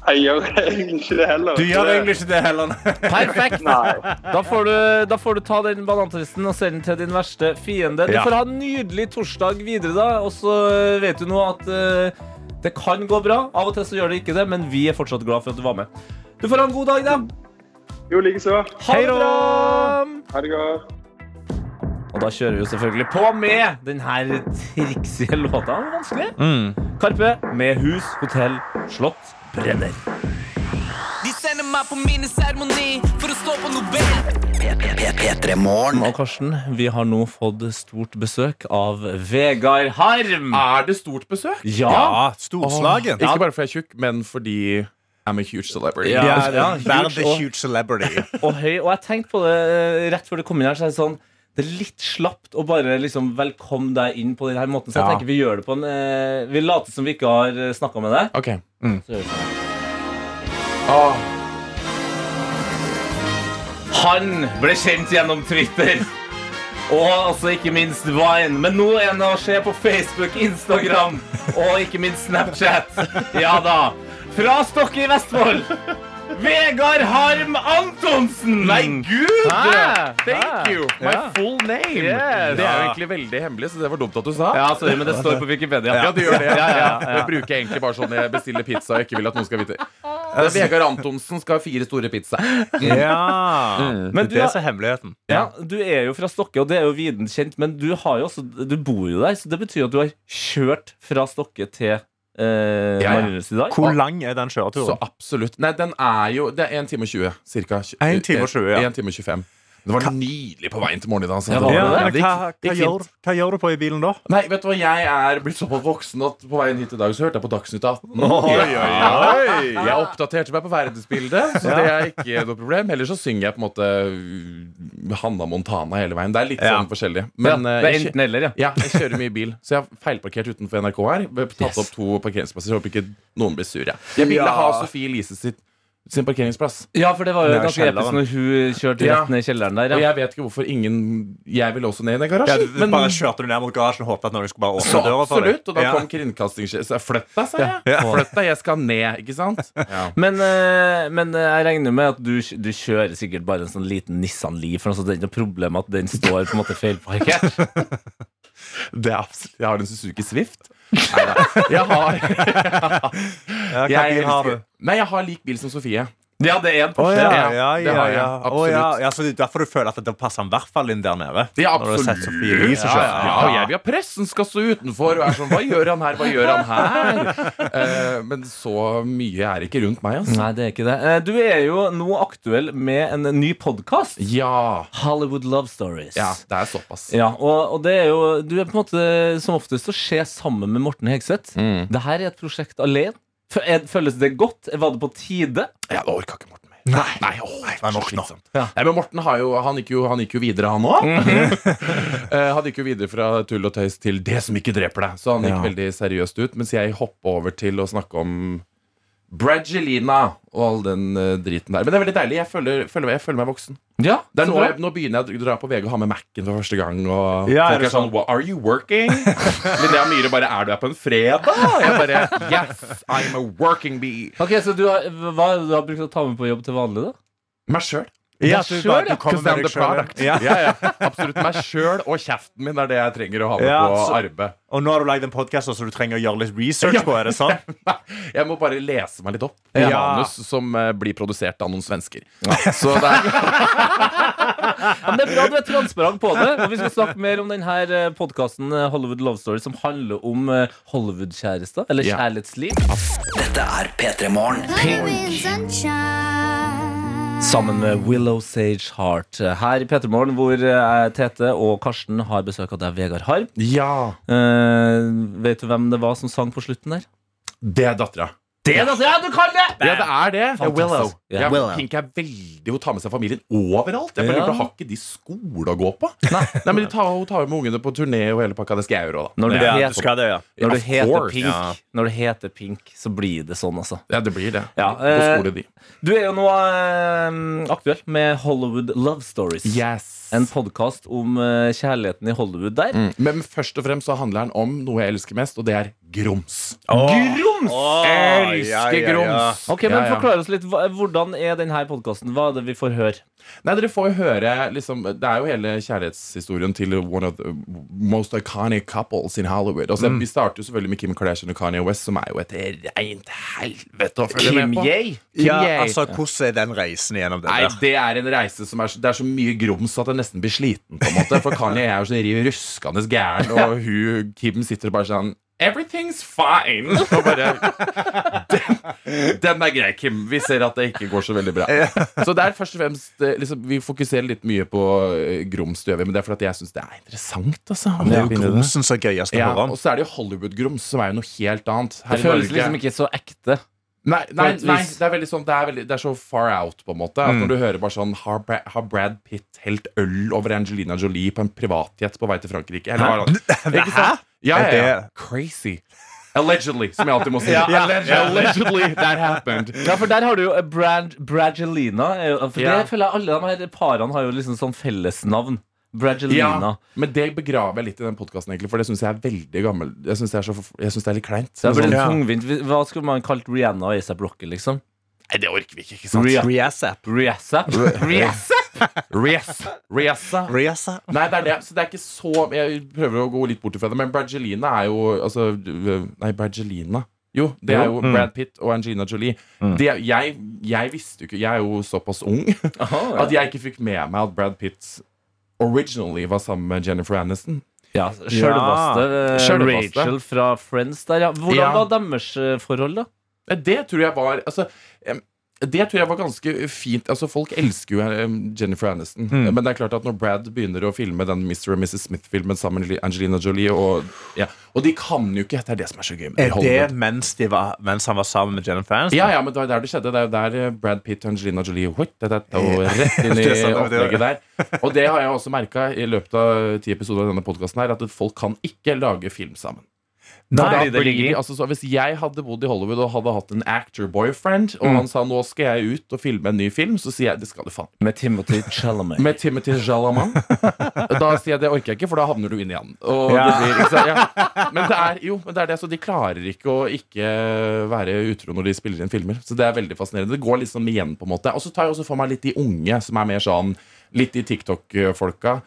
Speaker 4: Jeg gjør egentlig ikke det heller.
Speaker 3: Du
Speaker 4: så
Speaker 3: gjør
Speaker 4: det-
Speaker 3: egentlig ikke det heller.
Speaker 2: Perfekt!
Speaker 4: Nei.
Speaker 2: Da får, du, da får du ta den banantristen og sende den til din verste fiende. Du
Speaker 3: Ja.
Speaker 2: får ha en nydelig torsdag videre, da. Og så eh, vet du nå at eh, det kan gå bra. Av og til så gjør det ikke det, men vi er fortsatt glad for at du var med. Du får ha en god dag, da.
Speaker 4: Jo, likeså.
Speaker 2: Ha
Speaker 3: Hei
Speaker 2: det
Speaker 3: da!
Speaker 2: bra!
Speaker 4: Ha det godt.
Speaker 2: Og da kjører vi jo selvfølgelig på med den her triksige låta. Den var Vanskelig.
Speaker 3: Mm.
Speaker 2: Karpe med hus, hotell, slott, brenner.
Speaker 5: De sender meg på minneseremoni for å stå på Nobel.
Speaker 2: Og Karsten, vi har nå fått stort besøk av Vegard Harm.
Speaker 3: Ah.
Speaker 6: Er det stort besøk?
Speaker 2: Ja!
Speaker 3: storslagen.
Speaker 6: Ikke bare fordi jeg er tjukk, men fordi I'm a huge celebrity.
Speaker 2: Ja.
Speaker 3: Ja, ja,
Speaker 2: huge
Speaker 3: Verdens
Speaker 2: og-
Speaker 3: huge celebrity.
Speaker 2: og høy. Og jeg tenkte på det eh, rett før du kom inn her. Så er det sånn det er litt slapt å bare liksom velkomme deg inn på denne måten. Så jeg
Speaker 3: Ja.
Speaker 2: tenker vi gjør det på en eh, Vi later som vi ikke har snakka med deg.
Speaker 6: Ok.
Speaker 2: Så gjør vi sånn.
Speaker 6: Ah,
Speaker 2: Han ble kjent gjennom Twitter. Og altså ikke minst Vine. Men nå er han å se på Facebook, Instagram og ikke minst Snapchat. Ja da. Fra Stokke i Vestfold. Vegard Harm Antonsen!
Speaker 6: nei, gud!
Speaker 2: Hæ?
Speaker 6: Thank
Speaker 2: Hæ?
Speaker 6: you! My
Speaker 2: Ja.
Speaker 6: full name!
Speaker 2: Yes.
Speaker 6: Det er jo egentlig veldig hemmelig, så det var dumt at du sa.
Speaker 2: Ja, sorry, men det står på Wikipedia.
Speaker 6: Ja, det gjør det.
Speaker 2: Ja, ja, ja.
Speaker 6: Det bruker jeg egentlig bare sånn når jeg bestiller pizza og ikke vil at noen skal vite. Det er Vegard Antonsen skal ha fire store pizza.
Speaker 3: Ja.
Speaker 2: Men
Speaker 3: Men
Speaker 2: du
Speaker 3: det
Speaker 2: har-
Speaker 3: er så hemmeligheten.
Speaker 2: Ja, Du er jo fra Stokke, og det er jo viden kjent, men du, har jo også, du bor jo der, så det betyr at du har kjørt fra Stokke til eh,
Speaker 6: ja.
Speaker 2: Marienlyst i dag.
Speaker 3: Hvor lang er den
Speaker 6: Så
Speaker 3: kjøreturen?
Speaker 6: absolutt. Nei, den er jo Det er 1 time og 20, cirka.
Speaker 3: En time og 20, ja.
Speaker 6: En time og 25. Det var nydelig på veien til morgendagen. altså.
Speaker 2: Ja, var det
Speaker 3: Ja,
Speaker 2: det?
Speaker 3: men
Speaker 6: gikk-
Speaker 3: hva,
Speaker 6: det
Speaker 3: hva,
Speaker 6: gikk
Speaker 3: gjør,
Speaker 6: fint.
Speaker 3: hva gjør du på i bilen da?
Speaker 6: Nei, vet du hva, jeg er blitt såpass voksen at på veien hit i dag så hørte jeg på Dagsnytt 18. Jeg oppdaterte meg på verdensbildet, så det er ikke noe problem. Ellers så synger jeg på en måte uh, Hanna Montana hele veien. Det er litt
Speaker 3: Ja.
Speaker 6: sånn forskjellig.
Speaker 2: Ja,
Speaker 6: Men uh,
Speaker 2: det er
Speaker 6: jeg kjø-
Speaker 2: enten eller, ja.
Speaker 6: ja, jeg kjører mye bil, så jeg har feilparkert utenfor NRK her. Tatt opp to parkeringsplasser. Jeg håper ikke noen blir sur. Jeg, jeg ville ha Sofie Elise sitt, sin parkeringsplass.
Speaker 2: Ja, for det var jo
Speaker 3: Nær
Speaker 2: ganske episk
Speaker 3: kjelleren.
Speaker 2: når hun kjørte
Speaker 6: Ja.
Speaker 2: rett ned i kjelleren der.
Speaker 6: Og
Speaker 2: Ja.
Speaker 6: jeg vet ikke hvorfor ingen Jeg ville også ned i den
Speaker 3: Ja,
Speaker 6: garasjen.
Speaker 3: du bare kjørte du ned mot garasjen og håpet at noen skulle bare åpne
Speaker 6: Så
Speaker 3: døra for deg?
Speaker 6: absolutt, og da
Speaker 3: Ja.
Speaker 6: kom kringkastingssjefen. Flytt deg, sa jeg. Flytt deg, jeg skal ned. Ikke sant?
Speaker 2: Men, eh, men eh, jeg regner med at du, du kjører sikkert bare en sånn liten Nissan Leaf, for altså, det er ikke noe problem at den står på en måte feilparkert.
Speaker 6: Det er absolutt, jeg har en Suzuki Swift. Neida. Jeg har,
Speaker 3: Ja, hva
Speaker 6: jeg
Speaker 3: bil har du?
Speaker 6: elsker- Nei, jeg har lik bil som Sofie.
Speaker 2: Ja, det er en
Speaker 3: Å
Speaker 2: Porsche.
Speaker 3: ja,
Speaker 6: Ja,
Speaker 3: ja,
Speaker 6: det
Speaker 3: ja,
Speaker 6: har jeg.
Speaker 3: ja. Å, ja.
Speaker 6: Absolutt.
Speaker 3: ja så det er derfor du føler at det passer i hvert fall inn der nede?
Speaker 6: Ja,
Speaker 3: Når du har sett
Speaker 6: absolutt.
Speaker 3: Sofie Elise
Speaker 6: Ja,
Speaker 3: kjøre.
Speaker 6: ja, og jeg vil ha pressen skal stå utenfor og er sånn Hva gjør han her, hva gjør han her? Eh, men så mye er ikke rundt meg, altså.
Speaker 2: Nei, det er ikke det. Eh, Du er jo nå aktuell med en ny podkast.
Speaker 6: Ja.
Speaker 2: Hollywood Love Stories.
Speaker 6: ja. Det er såpass.
Speaker 2: Ja, og, og det er jo Du er på en måte som oftest å se sammen med Morten Hegseth.
Speaker 6: Mm.
Speaker 2: Det her er et prosjekt alene. Fø- er- Føles det godt? Var det på tide?
Speaker 6: Jeg orka ikke Morten mer.
Speaker 3: Nei.
Speaker 6: Nei, åh, det var
Speaker 3: var nok nå.
Speaker 6: slitsomt. Nei, men Morten har jo, han gikk jo, han gikk jo videre, han òg.
Speaker 3: Mhm.
Speaker 6: han gikk jo videre fra tull og tøys til det som ikke dreper deg. Så han
Speaker 3: Ja.
Speaker 6: gikk veldig seriøst ut. Mens jeg hoppa over til å snakke om Bragelina og all den eh, driten der. Men det er veldig deilig. Jeg føler, føler, meg- jeg føler meg voksen.
Speaker 2: Ja,
Speaker 6: Det er nå, jeg, nå begynner jeg å dra på VG og ha med Mac-en for første gang. Og
Speaker 3: Ja, er
Speaker 6: folk
Speaker 3: det
Speaker 6: er sånn "Well, Are you working? Linnea Myhre bare Er du her på en fredag? Jeg bare Yes, I'm a working bee.
Speaker 2: Ok, Så du har, hva er det du har brukt å ta med på jobb til vanlig, da?
Speaker 6: Meg sjøl.
Speaker 3: Ja,
Speaker 2: Deg
Speaker 3: du
Speaker 2: selv,
Speaker 3: bare- du
Speaker 2: ja.
Speaker 3: kommer med deg selv, ja.
Speaker 6: Ja.
Speaker 3: Ja.
Speaker 6: Ja, Absolutt meg sjøl og kjeften min er det jeg trenger å ha med
Speaker 3: Ja,
Speaker 6: på
Speaker 3: så-
Speaker 6: arbeid.
Speaker 3: Og nå har du lagd en podkast så du trenger å gjøre litt research på, er det sånn?
Speaker 6: Jeg må bare lese meg litt opp i
Speaker 3: Ja.
Speaker 6: manus som eh, blir produsert av noen svensker. Så det er,
Speaker 2: Ja, men det er bra du er transparent på det. Og vi skal snakke mer om denne podkasten Hollywood Love Story, som handler om eh, Hollywood-kjærester. Eller
Speaker 6: Ja.
Speaker 2: kjærlighetsliv.
Speaker 7: Live in sunshine.
Speaker 2: Sammen med Willow Sage Heart her i Petermorgen, hvor eh, Tete og Karsten har besøk av deg, Vegard Harm.
Speaker 6: Ja.
Speaker 2: Eh, vet du hvem det var som sang på slutten der?
Speaker 6: Det er dattera.
Speaker 2: Det er altså, ja, du kan det!
Speaker 6: Ja, det er det. Det er
Speaker 2: Fantastisk.
Speaker 6: Willow.
Speaker 2: Ja.
Speaker 6: Ja,
Speaker 7: Willow.
Speaker 6: Pink er veldig Hun tar med seg familien overalt. Jeg
Speaker 2: Ja.
Speaker 6: bare lurer på, Har ikke de skole å gå på? Nei, men de tar, Hun tar jo med ungene på turné og hele pakka. Det skal jeg gjøre òg, da.
Speaker 2: Når du,
Speaker 3: Ja, du
Speaker 2: heter,
Speaker 3: skal det, ja.
Speaker 2: når du
Speaker 6: Of
Speaker 2: heter
Speaker 6: course,
Speaker 2: Pink,
Speaker 6: ja.
Speaker 2: når du heter Pink, så blir det sånn, altså.
Speaker 6: Ja, det blir det.
Speaker 2: Ja,
Speaker 6: på skole, de.
Speaker 2: Du er jo nå eh, aktuell med Hollywood Love Stories.
Speaker 6: Yes.
Speaker 2: En podkast om eh, kjærligheten i Hollywood der.
Speaker 6: Mm. Men først og fremst så handler den om noe jeg elsker mest, og det er grums.
Speaker 2: Grums!
Speaker 3: Ah,
Speaker 6: elsker grums!
Speaker 2: Ok, men
Speaker 6: Ja, ja.
Speaker 2: Forklar oss litt. hva- Hvordan er denne podkasten? Hva er det vi får høre?
Speaker 6: Nei, dere får jo høre liksom, Det er jo hele kjærlighetshistorien til one of the most iconic couples in Hollywood. Altså, Vi starter jo selvfølgelig med Kim Kardashian og Kanye West, som er jo et rent helvete å følge med på.
Speaker 2: Ye?
Speaker 6: Kim Ye.
Speaker 3: Ja, altså, hvordan er den reisen gjennom det
Speaker 6: Nei,
Speaker 3: der?
Speaker 6: det er en reise som er, så- det er så mye grums at jeg nesten blir sliten. på en måte For Kanye er jo så riv ruskende gæren, og hun, Kim sitter bare sånn Everything's fine! Og bare, den, den er grei, Kim. Vi ser at det ikke går så veldig bra. Så det er først og fremst eh, liksom, Vi fokuserer litt mye på eh, grums, det gjør vi, men det er fordi at jeg syns det er interessant. Altså, å
Speaker 3: Det er
Speaker 6: finne
Speaker 3: jo
Speaker 6: det.
Speaker 3: grumsen som er gøyest å
Speaker 6: ja,
Speaker 3: høre om.
Speaker 6: og så er det jo Hollywood-grums, som er jo noe helt annet. Her
Speaker 2: Det
Speaker 6: i
Speaker 2: føles
Speaker 6: Norge-
Speaker 2: liksom ikke så ekte.
Speaker 6: Nei, nei,
Speaker 2: et
Speaker 6: nei
Speaker 2: vis. Mm.
Speaker 6: det, er veldig sånn, det, er veldig, det er så far out, på en måte. At Når du hører bare sånn Har, Bra har Brad Pitt helt øl over Angelina Jolie på en privatjet på vei til Frankrike? Eller hva er det? Ikke sant? Ja, ja, ja.
Speaker 3: Er det-
Speaker 6: Crazy. Allegedly, som jeg alltid må si. allegedly that happened.
Speaker 2: Ja, for der har du jo eh, Brad, Bradgelina. er jo- For
Speaker 6: Ja.
Speaker 2: det føler jeg alle de her parene har jo liksom sånn fellesnavn.
Speaker 6: Ja,
Speaker 2: Bradgelina.
Speaker 6: men det begraver jeg litt i den podkasten, for det syns jeg er veldig gammel. Jeg syns det, er så forf- jeg synes det er litt kleint.
Speaker 2: Det er vel
Speaker 6: Sånn-
Speaker 2: en tungvint Hva skulle man kalt Rihanna og A$AP Rocky, liksom?
Speaker 6: Nei, det orker vi ikke, ikke sant?
Speaker 2: Ria-
Speaker 3: Reasap.
Speaker 2: Riasap?
Speaker 6: Rias. Riasa.
Speaker 3: Reasap.
Speaker 6: Nei, det er det. Så det er ikke så Jeg prøver å gå litt bort ifra det, men Brangelina er jo altså, Nei, Brangelina. Jo, det er jo Brad Pitt og Angelina Jolie. Det, er- jeg, jeg visste jo ikke Jeg er jo såpass ung at jeg ikke fikk med meg at Brad Pitt originally var sammen med Jennifer Aniston.
Speaker 2: Ja, Sjølveste eh,
Speaker 6: Sjølveste.
Speaker 2: Rachel fra Friends der, ja. Hvordan
Speaker 6: Ja.
Speaker 2: var deres eh, forhold, da?
Speaker 6: Nei, Det tror jeg var altså, em, det tror jeg var ganske fint. Altså, Folk elsker jo em, Jennifer Aniston.
Speaker 3: Mm.
Speaker 6: Men det er klart at når Brad begynner å filme den Mr. og Mrs. Smith-filmen sammen med Angelina Jolie Og, ja, og de kan jo ikke Det er det som er så gøy med
Speaker 3: Er
Speaker 6: Hollywood.
Speaker 3: det mens, de var, mens han var sammen med Jennifer Aniston?
Speaker 6: Ja, ja, men det var der det skjedde. Det er jo der eh, Brad Pitt og Angelina Jolie hoi, det, det, det, og rett inn i
Speaker 3: Det er sant, det var det.
Speaker 6: opplegget der. Og det har jeg også merka i løpet av ti episoder av denne podkasten her, at folk kan ikke lage film sammen.
Speaker 3: Nei,
Speaker 6: Da
Speaker 3: det er
Speaker 6: blir
Speaker 3: ikke-
Speaker 6: de- altså, så hvis jeg hadde bodd i Hollywood og hadde hatt en actor boyfriend, og han sa nå skal jeg ut og filme en ny film, så sier jeg det skal du faen.
Speaker 2: Med Timothy Chalamet.
Speaker 6: Med Timothy Jalaman. da sier jeg det orker jeg ikke, for da havner du inn igjen. Og
Speaker 3: Ja.
Speaker 6: det blir, ikke sant? ja. Men det er jo men det er det, så de klarer ikke å ikke være utro når de spiller inn filmer. Så det er veldig fascinerende. Det går liksom igjen, på en måte. Og så tar jeg også for meg litt de unge, som er mer sånn litt de TikTok-folka.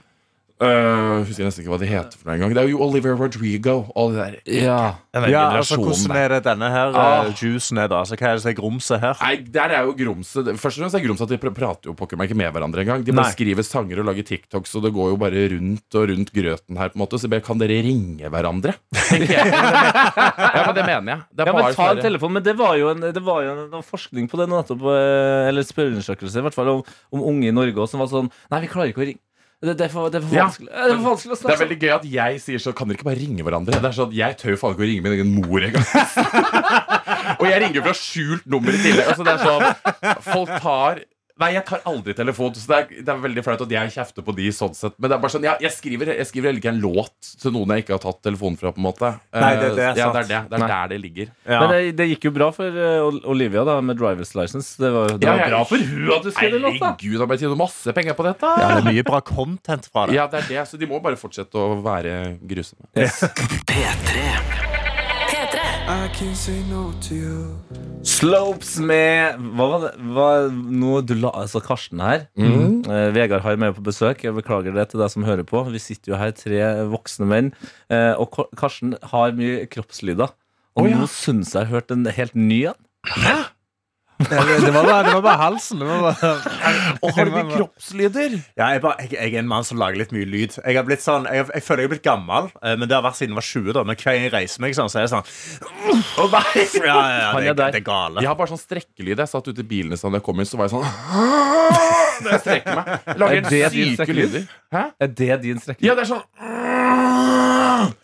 Speaker 6: Øh, husker jeg nesten ikke hva de heter for noe engang. Det er jo Oliver Rodrigo og det der.
Speaker 2: Ja.
Speaker 3: ja, altså,
Speaker 6: generasjonen
Speaker 3: hvordan
Speaker 6: der.
Speaker 3: er det denne her
Speaker 6: Ah.
Speaker 3: eh, juicen er, da? Altså, hva er det som er grumset her?
Speaker 6: Nei, der er jo grumset Først og fremst er grumset at de pr- prater jo pokker meg ikke med hverandre engang. De bare
Speaker 3: Nei.
Speaker 6: skriver sanger og lager TikToks, og det går jo bare rundt og rundt grøten her, på en måte. Så jeg ber, kan dere ringe hverandre? Tenker jeg. ja, men det mener jeg. Det er
Speaker 2: Ja, men
Speaker 6: bare sånn
Speaker 2: ta en
Speaker 6: sånne-
Speaker 2: telefon, men det var jo en, det var jo en, noe forskning på det nå nettopp, eh, eller spørreundersøkelse, i hvert fall om, om unge i Norge også, som var sånn Nei, vi klarer ikke å ringe. Det, det, er, for, det, er, for
Speaker 6: Ja.
Speaker 2: vanskelig, eh, det er for vanskelig å
Speaker 6: Det er
Speaker 2: snakke
Speaker 6: veldig gøy at jeg sier så Kan dere ikke bare ringe hverandre? Det er sånn at Jeg tør jo faen ikke å ringe min egen mor engang. og jeg ringer jo fra skjult nummer i tillegg. Altså, det er sånn Folk tar Nei, jeg tar aldri telefon, så det er, det er veldig flaut at jeg kjefter på de sånn sett. Men det er bare sånn, jeg, jeg skriver jeg skriver heller ikke en låt til noen jeg ikke har tatt telefonen fra, på en måte. Eh,
Speaker 3: Nei, det- det er
Speaker 6: ja,
Speaker 3: sant.
Speaker 6: det er, det. Det er der det ligger.
Speaker 3: Ja.
Speaker 2: Men det, det gikk jo bra for eh, Ol- Olivia da med driver's license. Det var, det
Speaker 6: Ja,
Speaker 2: var
Speaker 6: jeg-
Speaker 2: bra for hun at du skrev den låta!
Speaker 6: Herregud, da må jeg tjene masse penger på dette!
Speaker 3: Ja, det er mye bra content fra det.
Speaker 6: Ja, det er det. Så de må bare fortsette å være grusomme.
Speaker 1: P3.
Speaker 2: Slopes med Hva var det hva, nå, du la, Altså Karsten her.
Speaker 7: Mm.
Speaker 2: Eh, Vegard har med på besøk. Jeg beklager det til deg som hører på. Vi sitter jo her, tre voksne menn. eh, og Ko- Karsten har mye kroppslyder. Og
Speaker 6: Å, ja.
Speaker 2: nå syns jeg jeg har hørt en helt ny en.
Speaker 7: Det, det, var bare, det var bare halsen. Det var bare...
Speaker 6: Og har du mye kroppslyder?
Speaker 3: Ja, jeg, bare, jeg, jeg er en mann som lager litt mye lyd. Jeg, har blitt sånn, jeg, jeg føler jeg er blitt gammel, eh, men det har vært siden jeg var 20. da Men hver gang jeg reiser meg, sånn, så er jeg sånn ja, ja, ja,
Speaker 2: Han er
Speaker 3: det,
Speaker 2: der.
Speaker 3: det er gale.
Speaker 6: Jeg har bare sånn strekkelyd. Jeg satt ute i bilen i stad da jeg kom inn, så var jeg sånn Når jeg strekker meg. Jeg
Speaker 2: Er
Speaker 6: Lager
Speaker 2: det
Speaker 6: helt
Speaker 2: din
Speaker 6: syke
Speaker 2: strekkelyd?
Speaker 6: lyder. Hæ?
Speaker 2: Er det din strekning?
Speaker 6: Ja, det er sånn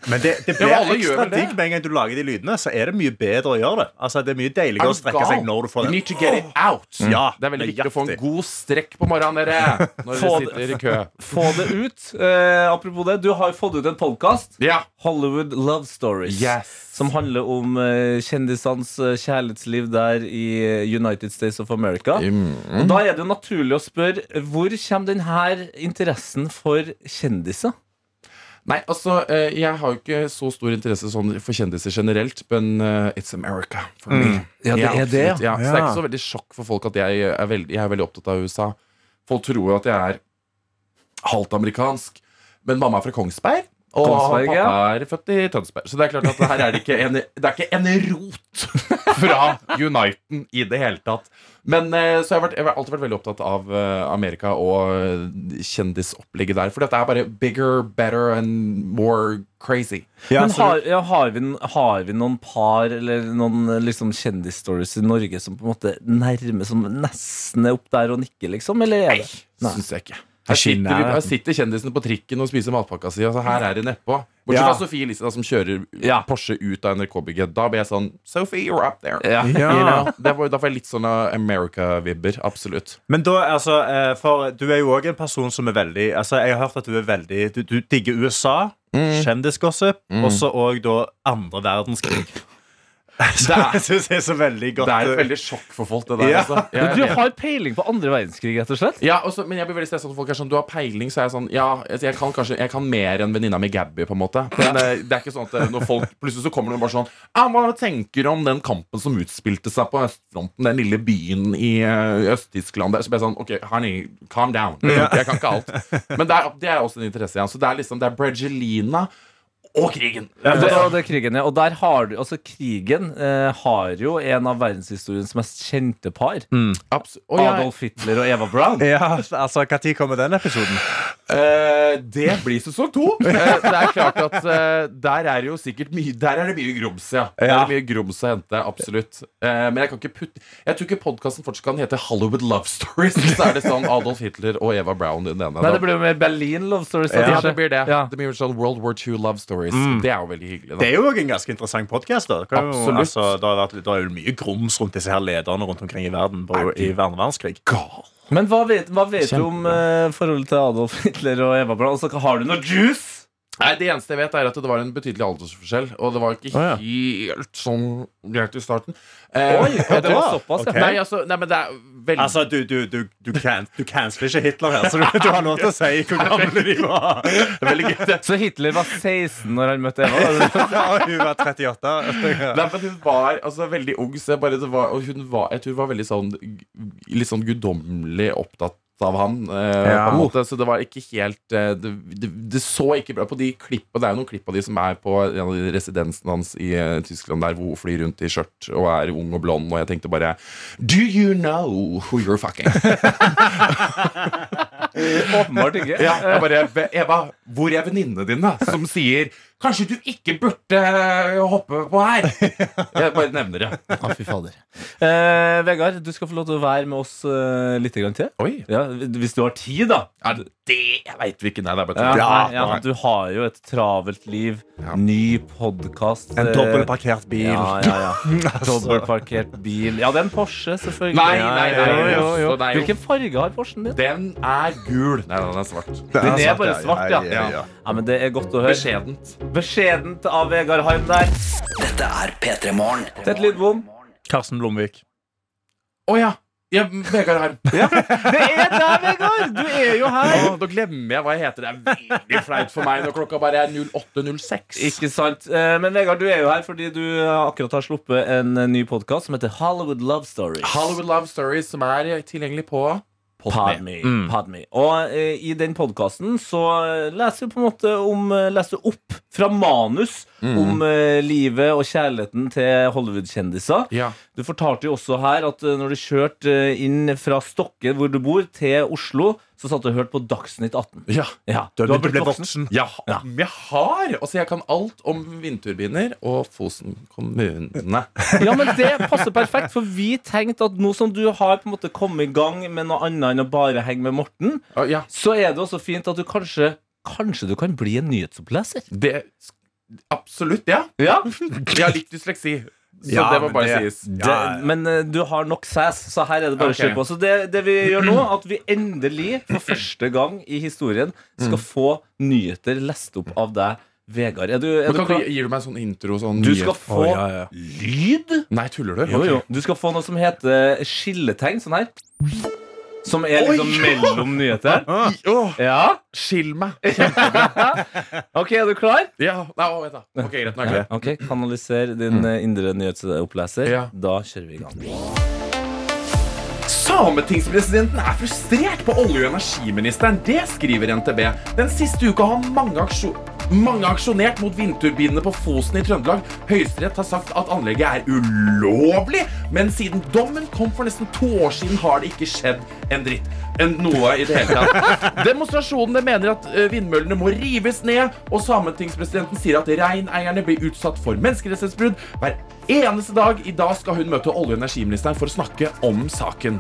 Speaker 3: Men det, det blir
Speaker 6: Ja, men alle gjør
Speaker 3: ekstra
Speaker 6: vel det.
Speaker 3: digg med en gang du lager de lydene. Så er det mye bedre å gjøre det. Altså, det er mye deiligere å strekke seg når du får
Speaker 6: You
Speaker 3: den.
Speaker 6: need to get it out.
Speaker 3: Ja,
Speaker 6: det er veldig viktig å få en
Speaker 3: nøyaktig.
Speaker 6: god strekk på morgenen, dere. Når dere
Speaker 2: Få det-
Speaker 6: sitter i kø.
Speaker 2: Få det ut. Eh, apropos det, du har jo fått ut en podkast.
Speaker 6: Ja.
Speaker 2: Hollywood Love Stories.
Speaker 6: Yes.
Speaker 2: Som handler om eh, kjendisenes eh, kjærlighetsliv der i eh, United States of America. Og da er det jo naturlig å spørre eh, hvor kommer denne interessen for kjendiser?
Speaker 6: Nei, altså, eh, jeg har jo ikke så stor interesse sånn for kjendiser generelt, men eh, it's America for
Speaker 2: Mm.
Speaker 6: me.
Speaker 2: Ja, det er det,
Speaker 6: absolutt, ja. Så det er ikke så veldig sjokk for folk at jeg er veldig, jeg er veldig opptatt av USA. Folk tror jo at jeg er halvt amerikansk, men mamma er fra Kongsberg. Og
Speaker 2: Kongsberg,
Speaker 6: pappa
Speaker 2: ja.
Speaker 6: er født i Tønsberg. Så det er klart at her er det ikke en, det er ikke en rot fra Uniten i det hele tatt. Men eh, så jeg har, vært, jeg har alltid vært veldig opptatt av eh, Amerika og eh, kjendisopplegget der. For dette er bare bigger, better and more crazy.
Speaker 3: Ja,
Speaker 2: Men
Speaker 3: så
Speaker 2: har, ja, har, vi, har vi noen par eller noen eh, liksom, kjendisstories i Norge som på en måte nærmer som nesten er opp der og nikker, liksom? Eller er det? Nei.
Speaker 6: Syns jeg ikke. Her sitter, vi, her sitter kjendisene på trikken og spiser matpakka si. Altså, her er det nedpå. Bortsett
Speaker 3: Ja.
Speaker 6: fra Sofie Elise, da, som kjører
Speaker 2: Ja.
Speaker 6: Porsche ut av NRK-bygget. Da blir jeg sånn Sophie, you're up there.
Speaker 2: Ja.
Speaker 3: Ja.
Speaker 6: You know? Det var- Da får jeg litt sånne America-vibber. Absolutt.
Speaker 3: Men da, altså, eh, for du er jo òg en person som er veldig Altså, Jeg har hørt at du er veldig Du, du digger USA, kjendisgossip, og så òg da andre verdenskrig. Så
Speaker 6: er-
Speaker 3: jeg syns det er så veldig godt.
Speaker 6: Det er
Speaker 3: eh,
Speaker 6: et veldig sjokk for folk, det der.
Speaker 3: Ja.
Speaker 6: Altså. Jeg
Speaker 2: Men Du
Speaker 6: vet.
Speaker 2: har peiling på andre verdenskrig, rett og slett?
Speaker 6: Ja, og så- men jeg blir veldig stresset når folk er sånn Du har peiling, så er jeg sånn Ja, altså, jeg kan kanskje Jeg kan mer enn venninna mi Gabby, på en måte. Men eh, det er ikke sånn at eh, når folk plutselig så kommer noen bare sånn Ja, hva tenker du om den kampen som utspilte seg på østfronten, den lille byen i eh, Øst-Tyskland der? Så blir jeg sånn OK, honey, calm down. Jeg kan ikke alt. Men det er, det er også en interesse, ja. Så det er liksom Det er Bregelina og krigen.
Speaker 2: Det, og det er krigen, ja. Og der har du, altså krigen eh, har jo en av verdenshistoriens mest kjente par.
Speaker 6: Abs- og jeg-
Speaker 2: Adolf Hitler og Eva Brown.
Speaker 3: Ja, altså, Når kommer den episoden?
Speaker 6: Eh, det blir sesong to. Eh, det er klart at eh, der er det jo sikkert mye Der er det mye grums, ja. Der er det mye grums å hente, absolutt. Eh, men jeg kan ikke putte Jeg tror ikke podkasten fortsatt kan hete Hollywood Love Stories. Så er det sånn Adolf Hitler og Eva Brown i den ene.
Speaker 2: Nei,
Speaker 6: da.
Speaker 2: det blir jo mer Berlin Love Stories. da,
Speaker 6: ja,
Speaker 2: kanskje.
Speaker 6: det blir det.
Speaker 2: Ja.
Speaker 6: Det blir jo sånn World War II Love Stories. Mm. Det er jo veldig hyggelig.
Speaker 3: Det
Speaker 6: Da.
Speaker 3: er jo òg en ganske interessant podkast. Det, kan jo-
Speaker 6: Absolutt.
Speaker 3: altså, det, har vært- det er jo mye grums rundt disse her lederne rundt omkring i verden på, i andre verdenskrig.
Speaker 2: Men hva vet, hva vet du om eh, forholdet til Adolf Hitler og Eva Brown? Altså, har du noe juice?
Speaker 6: Nei, det eneste jeg vet, er at det var en betydelig aldersforskjell. Og det var ikke
Speaker 3: Å, ja.
Speaker 6: helt sånn greit i starten. Eh,
Speaker 2: Oi, ja, det var
Speaker 3: det-
Speaker 2: såpass,
Speaker 3: ok.
Speaker 2: ja.
Speaker 6: Nei, altså, nei, men det er veldig
Speaker 3: Altså, du, du, du, du, can, du canceler ikke Hitler her, så du, du har lov til å si hvor gamle de var.
Speaker 6: veldig gøy. Det-
Speaker 2: Så Hitler var 16 når han møtte Eva? da?
Speaker 3: Og hun var 38.
Speaker 6: Nei, men hun var altså, veldig ung, så jeg bare det var, Og hun var, jeg tror hun var veldig sånn g- Litt sånn guddommelig opptatt av han eh,
Speaker 3: Ja.
Speaker 6: på en måte, Så det var ikke helt eh, det, det, det så ikke bra på de klipp Og det er jo noen klipp av de som er på en av de residensen hans i eh, Tyskland der Hvor hun flyr rundt i skjørt og er ung og blond Og jeg tenkte bare Do you know who you're fucking?
Speaker 2: Åpenbart ikke.
Speaker 6: Ja, jeg bare, Eva, hvor er venninnene dine som sier Kanskje du ikke burde hoppe på her? Jeg bare nevner det
Speaker 2: Å, fy fader. Eh, Vegard, du skal få lov til å være med oss eh, litt grann til.
Speaker 6: Oi,
Speaker 2: Ja, hvis du har tid, da.
Speaker 6: Ja, det jeg veit vi ikke. Nei, det er bare
Speaker 2: Ja,
Speaker 6: tull.
Speaker 2: nei, ja, Du har jo et travelt liv. Ny podkast.
Speaker 3: En dobbeltparkert bil.
Speaker 2: Eh, Ja, ja, ja. Dobbeltparkert bil. Ja, det er en Porsche, selvfølgelig.
Speaker 6: Nei, nei, nei,
Speaker 2: Jo, jo, jo.
Speaker 6: så det er jo-
Speaker 2: Hvilken farge har Porschen din?
Speaker 6: Den er gul. Nei, den er svart.
Speaker 2: Den er bare svart, ja.
Speaker 6: ja,
Speaker 2: ja. men Det er godt å høre.
Speaker 6: Beskjedent.
Speaker 2: Beskjedent av Vegard Harm der.
Speaker 5: Dette er P3 Morgen.
Speaker 2: Tett Lidbom.
Speaker 3: Karsten Blomvik.
Speaker 6: Å ja. ja. Vegard her.
Speaker 2: Det er deg, Vegard! Du er jo her.
Speaker 6: Å, da glemmer jeg hva jeg heter. Det er veldig flaut for meg når klokka bare er 08.06.
Speaker 2: Ikke sant. Eh, Men Vegard, du er jo her fordi du eh, akkurat har sluppet eh, en ny podkast som heter Hollywood Love Stories.
Speaker 6: Hollywood Love Stories, som er tilgjengelig på
Speaker 2: Podme. Podme. Og eh, i den podkasten så leser vi på en måte om eh, Leser opp fra manus om eh, livet og kjærligheten til Hollywood-kjendiser.
Speaker 6: Ja.
Speaker 2: Du fortalte jo også her at eh, når du kjørte eh, inn fra Stokke, hvor du bor, til Oslo, så satt du og hørte på Dagsnytt 18.
Speaker 6: Ja.
Speaker 2: Ja,
Speaker 3: Du har blitt
Speaker 2: voksen.
Speaker 3: voksen.
Speaker 6: Ja, men jeg har! Altså, jeg kan alt om vindturbiner og Fosen kommune.
Speaker 2: Ja, men det passer perfekt, for vi tenkte at nå som du har på en måte kommet i gang med noe annet enn å bare henge med Morten,
Speaker 6: Å, Ja,
Speaker 2: så er det også fint at du kanskje Kanskje du kan bli en nyhetsoppleser?
Speaker 6: det Absolutt, ja.
Speaker 2: Ja,
Speaker 6: Jeg har litt dysleksi, så
Speaker 3: Ja,
Speaker 6: det må
Speaker 3: men
Speaker 6: bare
Speaker 3: det-
Speaker 6: sies.
Speaker 2: det, Men eh, du har nok sass, så her er det bare
Speaker 6: Ok.
Speaker 2: å kjøre på. Så det, det vi gjør nå, at vi endelig, for første gang i historien, skal
Speaker 6: Mm.
Speaker 2: få nyheter lest opp av deg, Vegard. Er du, er
Speaker 6: Men
Speaker 2: du
Speaker 6: kan
Speaker 2: klar?
Speaker 6: du, gir du meg en sånn intro? Sånn
Speaker 2: Du
Speaker 6: nyhet-
Speaker 2: skal få lyd.
Speaker 6: Nei, tuller du?
Speaker 2: Jo,
Speaker 6: Ok.
Speaker 2: jo. Du skal få noe som heter eh, skilletegn, sånn her. Som er liksom mellom nyheter.
Speaker 6: I- Åh,
Speaker 2: Ja.
Speaker 6: skill meg!
Speaker 2: OK, er du klar?
Speaker 6: Ja, nei, å, vent da. Ok, greit, nå er jeg klar.
Speaker 2: Ok, Kanaliser din eh, indre nyhetsoppleser.
Speaker 6: Mm. Ja.
Speaker 2: Da kjører vi i gang.
Speaker 6: Sametingspresidenten er frustrert på olje- og energiministeren. Det skriver NTB. Den siste uka har mange, aksjo mange aksjonert mot vindturbinene på Fosen i Trøndelag. Høyesterett har sagt at anlegget er ulovlig, men siden dommen kom for nesten to år siden, har det ikke skjedd en dritt. En noe i det hele tatt. Demonstrasjonene mener at eh, vindmøllene må rives ned, og sametingspresidenten sier at reineierne blir utsatt for menneskerettighetsbrudd hver eneste dag. I dag skal hun møte olje- og energiministeren for å snakke om saken.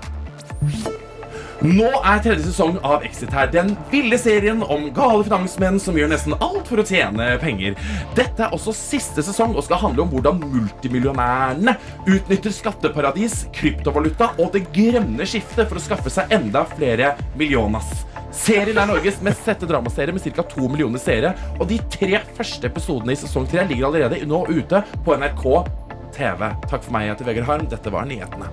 Speaker 6: Nå er tredje sesong av Exit her. Den ville serien om gale finansmenn som gjør nesten alt for å tjene penger. Dette er også siste sesong og skal handle om hvordan multimillionærene utnytter skatteparadis, kryptovaluta og det grønne skiftet for å skaffe seg enda flere millionas. Serien er Norges mest sette dramaserie med ca. to millioner seere. Og de tre første episodene i sesong tre ligger allerede nå ute på NRK TV. Takk for meg, jeg heter Vegard Harm. Dette var nyhetene.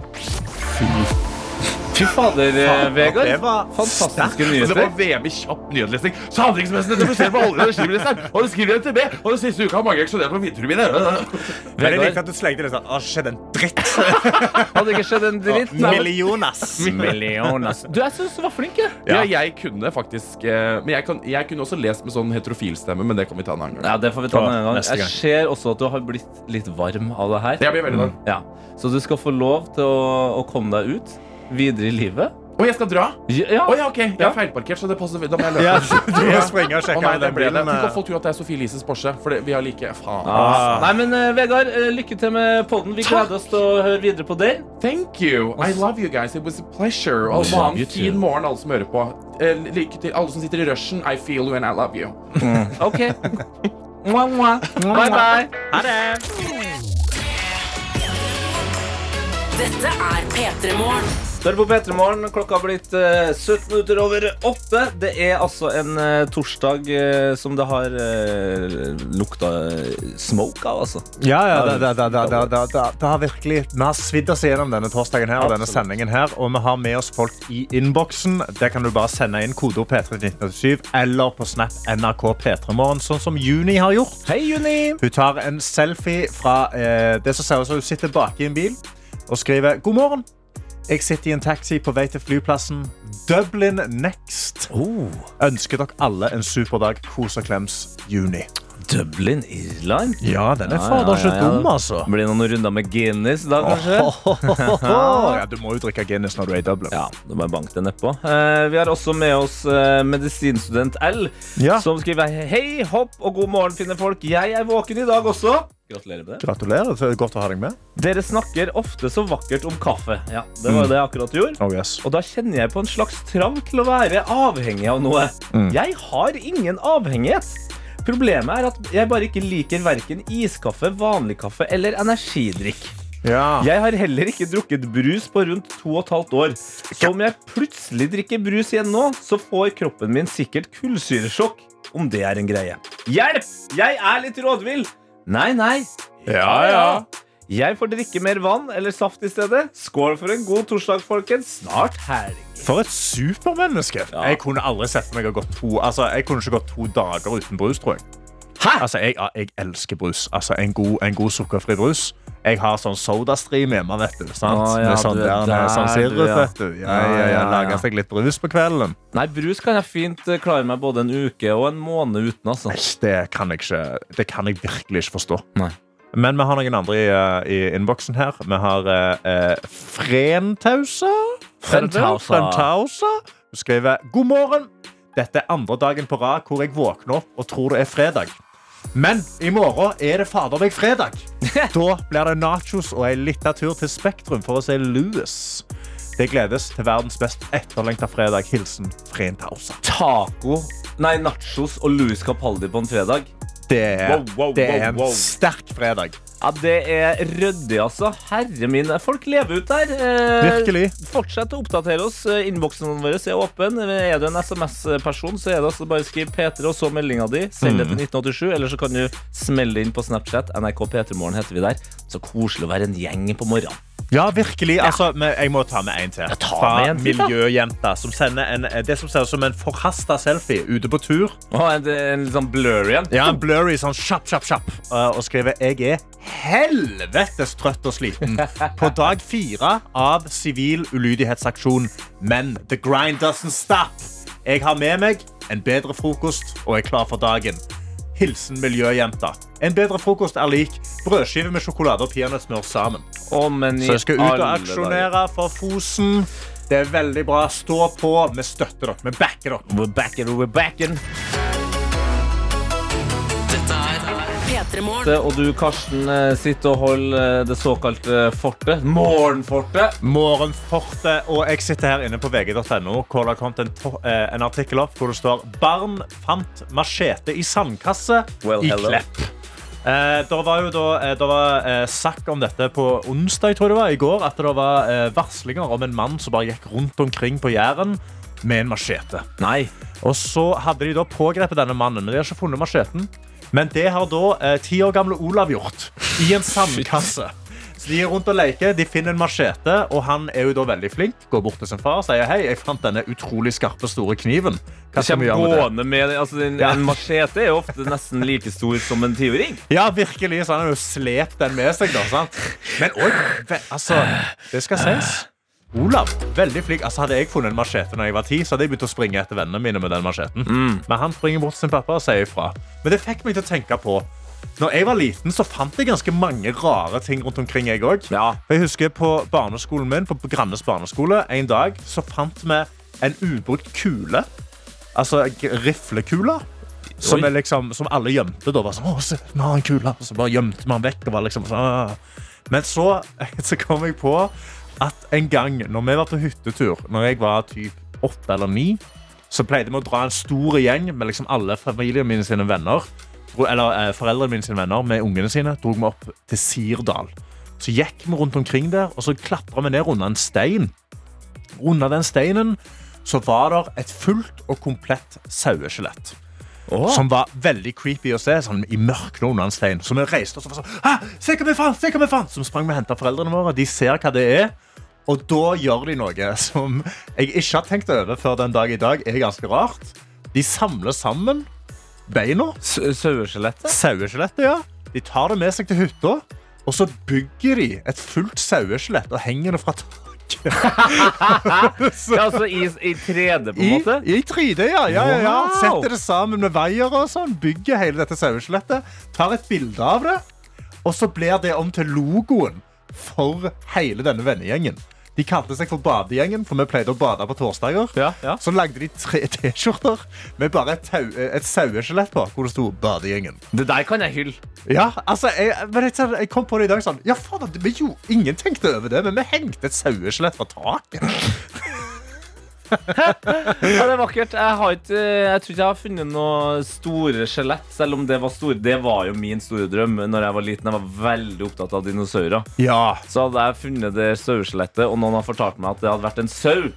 Speaker 2: Fy fader, eh, Vegard.
Speaker 3: det var
Speaker 2: Fantastiske
Speaker 6: Altså,
Speaker 2: nyheter.
Speaker 6: Det var VM i kjapp nyhetslesning. Samhandlingsmessen etter beskjed fra olje- og energiministeren. Og det skriver NTB. Og den siste uka har mange eksplodert på vindturbiner.
Speaker 3: Men jeg
Speaker 2: Vegard.
Speaker 3: likte at du slengte det sånn. Å, skjedd en dritt.
Speaker 2: Hadde ikke skjedd en dritt. Nei, men-
Speaker 3: Millionas. Millionas.
Speaker 2: Du, jeg syns du var flink, jeg.
Speaker 6: Ja. jeg kunne faktisk eh, Men jeg, kan, jeg kunne også lest med sånn heterofil stemme, men det kan vi ta en annen gang.
Speaker 2: Ja, det får vi ta med en gang.
Speaker 3: Neste gang.
Speaker 2: Jeg ser også at du har blitt litt varm av det her.
Speaker 6: Jeg blir veldig glad.
Speaker 2: Ja. Så du skal få lov til å, å komme deg ut videre i livet.
Speaker 6: Og jeg skal dra.
Speaker 2: Ja,
Speaker 6: Å ja, ok. Jeg er feilparkert, så det passer. Da må jeg løpe.
Speaker 3: Ja, du må springe og
Speaker 6: Å
Speaker 3: sjekke
Speaker 6: nei,
Speaker 3: om
Speaker 6: det
Speaker 3: den
Speaker 6: ble det.
Speaker 3: bilen
Speaker 6: Tenk
Speaker 3: eh,
Speaker 6: at folk tror at det er Sophie Elises Porsche. For det, vi har like Faen.
Speaker 2: Ah. Nei, men eh, Vegard, eh, lykke til med podden. Vi gleder oss til å høre videre på den.
Speaker 6: Thank you. I love you guys. It was a pleasure. Og
Speaker 2: love
Speaker 6: ha en
Speaker 2: you
Speaker 6: fin
Speaker 2: too.
Speaker 6: morgen, alle som hører på. Eh, Lykke til alle som sitter i rushen. I feel you and I love you.
Speaker 2: OK. Mwah, mwah. Bye, bye.
Speaker 1: Dette er P3 Morgen.
Speaker 2: Du er på P3 Morgen. Klokka har blitt eh, 17 minutter over åtte. Det er altså en eh, torsdag eh, som det har eh, lukta eh, smoke av, altså.
Speaker 3: Ja, ja, da, da, da, da, da, da, da, det har virkelig, Vi har svidd oss gjennom denne torsdagen her, og denne sendingen her, og vi har med oss folk i innboksen. Der kan du bare sende inn kodeord P31987 eller på Snap NRK P3morgen, sånn som Juni har gjort.
Speaker 2: Hei, Juni.
Speaker 3: Hun tar en selfie fra eh, det som ser ut som hun sitter bak i en bil og skriver God morgen. Jeg sitter i en taxi på vei til flyplassen. Dublin next. Ønsker dere alle en super dag. Kos og klems Juni.
Speaker 2: Dublin, Irland.
Speaker 3: Ja, den er
Speaker 2: Ja,
Speaker 3: fader
Speaker 2: ja,
Speaker 3: ikke
Speaker 2: ja, ja.
Speaker 3: dum, altså.
Speaker 2: Blir det noen runder med Guinness da, kanskje?
Speaker 3: Ja, du må jo drikke Guinness når du er i Dublin.
Speaker 2: Ja, da må jeg banke det nedpå. Eh, vi har også med oss eh, medisinstudent L,
Speaker 3: Ja.
Speaker 2: som skriver Hei, hopp og god morgen, fine folk. Jeg er våken i dag også. Gratulerer med det.
Speaker 3: Gratulerer. det er Godt å ha deg med.
Speaker 2: Dere snakker ofte så vakkert om kaffe. Ja, Det var jo det jeg akkurat gjorde.
Speaker 3: Oh, yes.
Speaker 2: Og da kjenner jeg på en slags trang til å være avhengig av noe.
Speaker 3: Mm.
Speaker 2: Jeg har ingen avhengighet. Problemet er at jeg bare ikke liker verken iskaffe, vanlig kaffe eller energidrikk.
Speaker 3: Ja.
Speaker 2: Jeg har heller ikke drukket brus på rundt to og et halvt år. Så om jeg plutselig drikker brus igjen nå, så får kroppen min sikkert kullsyresjokk. Om det er en greie. Hjelp! Jeg er litt rådvill! Nei, nei.
Speaker 3: Ja,
Speaker 2: Jeg får drikke mer vann eller saft i stedet. Skål for en god torsdag, folkens. Snart helg.
Speaker 3: For et supermenneske. Jeg kunne aldri sett meg å gå to Altså, jeg kunne ikke gått to dager uten brus, tror jeg. Altså, jeg, jeg elsker brus. Altså, en god, en god sukkerfri brus. Jeg har sånn sodastream hjemme, vet du. Sant?
Speaker 2: Å, ja,
Speaker 3: Med sånn,
Speaker 2: du er
Speaker 3: der,
Speaker 2: der,
Speaker 3: sånn sirup,
Speaker 2: du, ja.
Speaker 3: vet du. Ja, ja, ja,
Speaker 2: ja, ja.
Speaker 3: Lager seg litt brus på kvelden.
Speaker 2: Nei, brus kan jeg fint eh, klare meg både en uke og en måned uten. altså.
Speaker 3: Æsj, Det kan jeg, ikke, det kan jeg virkelig ikke forstå.
Speaker 2: Nei.
Speaker 3: Men vi har noen andre i, eh, i innboksen her. Vi har eh, eh, Frentausa.
Speaker 2: Frentausa.
Speaker 3: Frentausa. Hun skriver God morgen. Dette er andre dagen på rad hvor jeg våkner opp og tror det er fredag. Men i morgen er det fader meg fredag. Da blir det nachos og en liten tur til Spektrum for å se Louis. Det gledes til verdens mest etterlengta fredag. Hilsen Frentausa.
Speaker 2: Taco, nei, nachos og Louis Capaldi på en fredag.
Speaker 3: Det er,
Speaker 2: Wow, wow,
Speaker 3: det er
Speaker 2: wow,
Speaker 3: en
Speaker 2: wow.
Speaker 3: sterk fredag.
Speaker 2: Ja, Det er ryddig, altså. Herre min. Folk lever ut der. Eh,
Speaker 3: Virkelig.
Speaker 2: Fortsett å oppdatere oss. Eh, Innboksen vår er åpen. Er du en SMS-person, så er det altså bare skriv P3 og så meldinga di. Send
Speaker 3: Mm.
Speaker 2: det til 1987, eller så kan du smelle det inn på Snapchat. NRK P3morgen heter vi der. Så koselig å være en gjeng på morgenen.
Speaker 3: Ja, virkelig. Altså, men jeg må ta med en til.
Speaker 2: ta
Speaker 3: Fra
Speaker 2: med en til, da.
Speaker 3: Miljøjenta som sender en, det som ser ut som en forhasta selfie ute på tur.
Speaker 2: Å, en, en litt sånn blurry en.
Speaker 3: Ja, en blurry sånn kjapp, kjapp, kjapp. eh, Og skriver Jeg er helvetes trøtt og sliten. På dag fire av sivil ulydighetsaksjon. Men the grind doesn't stop. Jeg har med meg en bedre frokost og er klar for dagen. Hilsen miljøjenta. En bedre frokost er lik brødskive med sjokolade og peanøttsmør sammen.
Speaker 2: Å, men i
Speaker 3: Så jeg skal ut og
Speaker 2: alle dager.
Speaker 3: aksjonere for Fosen. Det er veldig bra. Stå på. Vi støtter dere. Vi backer dere.
Speaker 2: We're back and we're back in.
Speaker 5: Dette er
Speaker 1: P3morgen.
Speaker 2: fortet, og du, Karsten, eh, sitter og holder eh, det såkalte fortet. Morgenfortet.
Speaker 3: Morgenfortet. Og jeg sitter her inne på vg.no, hvor det har kommet en, to- eh, en artikkel opp hvor det står 'Barn fant machete i sandkasse
Speaker 2: Well,
Speaker 3: i
Speaker 2: hello.
Speaker 3: Klepp'. Eh, det var jo da, eh, det var eh, snakk om dette på onsdag, jeg tror det var, i går, at det var eh, varslinger om en mann som bare gikk rundt omkring på Jæren med en machete.
Speaker 2: Nei.
Speaker 3: Og så hadde de da pågrepet denne mannen, men de har ikke funnet macheten. Men det har da eh, ti år gamle Olav gjort, i en sandkasse. Så De er rundt og leker, de finner en machete, og han er jo da veldig flink. Går bort til sin far og sier hei, jeg fant denne utrolig skarpe, store kniven. Hva skal vi gjøre med det?
Speaker 2: Gående med den. altså, en,
Speaker 3: Ja.
Speaker 2: en machete er jo ofte nesten like stor som en tyvering.
Speaker 3: Ja, virkelig, så han har jo slept den med seg, da, sant? Men også, ve- altså, det skal sies. Olav, veldig flink. Altså, hadde jeg funnet en machete når jeg var ti, så hadde jeg begynt å springe etter vennene mine med den macheten. Men han springer bort til sin pappa og sier ifra. Men det fikk meg til å tenke på når jeg var liten, så fant jeg ganske mange rare ting rundt omkring. jeg også.
Speaker 2: Ja.
Speaker 3: For Jeg husker på barneskolen min, på Grannes barneskole, en dag så fant vi en ubrukt kule. Altså g- riflekule. Som,
Speaker 2: Oi.
Speaker 3: er liksom, som alle gjemte. da var sånn, Åh, se, vi har en kule. Og så bare gjemte man vekk. Og var liksom sånn, «Åh». Men så, så kom jeg på at en gang når vi var på hyttetur, når jeg var typ åtte eller ni, så pleide vi å dra en stor gjeng med liksom alle familien mine sine venner. dro- Eller eh, foreldrene mine sine venner med ungene sine. Drog vi opp til Sirdal. Så gikk vi rundt omkring der, og så klatra vi ned under en stein. Under den steinen så var der et fullt og komplett saueskjelett. Som var veldig creepy å se sånn, i mørket under en stein. Så vi reiste oss og var sånn Hæ, se hva vi fant! se hva vi fant! Så vi sprang vi og henta foreldrene våre. De ser hva det er. Og da gjør de noe som jeg ikke har tenkt over før den dag i dag. er ganske rart. De samler sammen beina.
Speaker 2: S- Saueskjelettet?
Speaker 3: Saueskjelettet, ja. De tar det med seg til hytta, og så bygger de et fullt saueskjelett og henger det fra taket.
Speaker 2: Ja, altså i, i 3D, på en måte?
Speaker 3: I, i 3D, ja. ja, ja, ja.
Speaker 2: Wow!
Speaker 3: Setter det sammen med veier og sånn. Bygger hele dette saueskjelettet. Tar et bilde av det, og så blir det om til logoen for hele denne vennegjengen. De kalte seg for Badegjengen, for vi pleide å bade på torsdager.
Speaker 2: Ja, ja.
Speaker 3: Så lagde de tre T-skjorter med bare et, tau- eh, et saueskjelett på, hvor det sto Badegjengen.
Speaker 2: Det der kan jeg hylle.
Speaker 3: Ja, altså, jeg, men jeg, jeg kom på det i dag sånn Ja, faen, vi jo, ingen tenkte over det, men vi hengte et saueskjelett fra taket.
Speaker 2: Ja, det er vakkert. Jeg, har ikke, eh, jeg tror ikke jeg har funnet noe store skjelett, selv om det var store. Det var jo min store drøm når jeg var liten. Jeg var veldig opptatt av dinosaurer.
Speaker 3: Ja,
Speaker 2: så hadde jeg funnet det saueskjelettet, og noen har fortalt meg at det hadde vært en sau,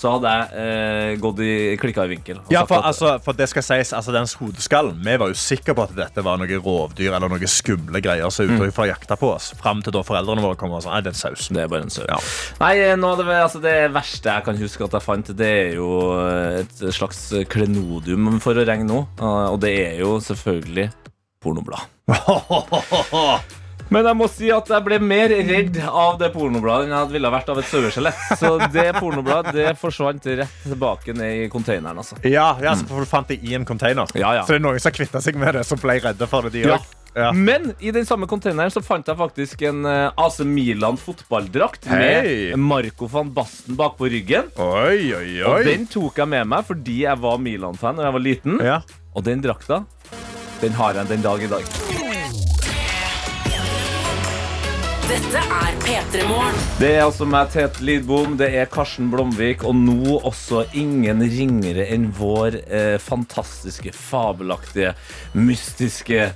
Speaker 2: så hadde jeg eh, gått i klikka i vinkel. og
Speaker 3: Ja,
Speaker 2: sagt
Speaker 3: for,
Speaker 2: at-
Speaker 3: altså, for det skal sies, altså, den hodeskallen Vi var jo sikre på at dette var noe rovdyr eller noe skumle greier som mm. jakta på oss. Fram til da foreldrene våre kom og sa nei, det er en saus.
Speaker 2: det er bare en sau. Nei, nå, det, altså, det verste jeg kan huske at jeg fant, det er jo Eh, et slags klenodium for å regne nå. Og det er jo selvfølgelig pornoblad. Men jeg må si at jeg ble mer redd av det pornobladet enn jeg ville vært av et saueskjelett. Så det pornobladet det forsvant rett tilbake ned i containeren. altså.
Speaker 3: Ja, ja så for du fant det i en container.
Speaker 2: Ja, ja.
Speaker 3: Så det er noen som har kvitta seg med det, som ble redde for det, de
Speaker 2: Ja. Mm.
Speaker 3: òg. Ja.
Speaker 2: Men i den samme containeren så fant jeg faktisk en eh, AC Milan fotballdrakt
Speaker 6: Hei.
Speaker 2: med Marco van Basten bak på ryggen.
Speaker 3: Oi, oi,
Speaker 2: Og den tok jeg med meg fordi jeg var Milan-fan da jeg var liten.
Speaker 3: Ja.
Speaker 2: Og den drakta, den har jeg den dag i dag.
Speaker 1: Dette er P3 Morgen.
Speaker 2: Det er altså meg, Tete Lidbom, det er Karsten Blomvik, og nå også ingen ringere enn vår eh, fantastiske, fabelaktige, mystiske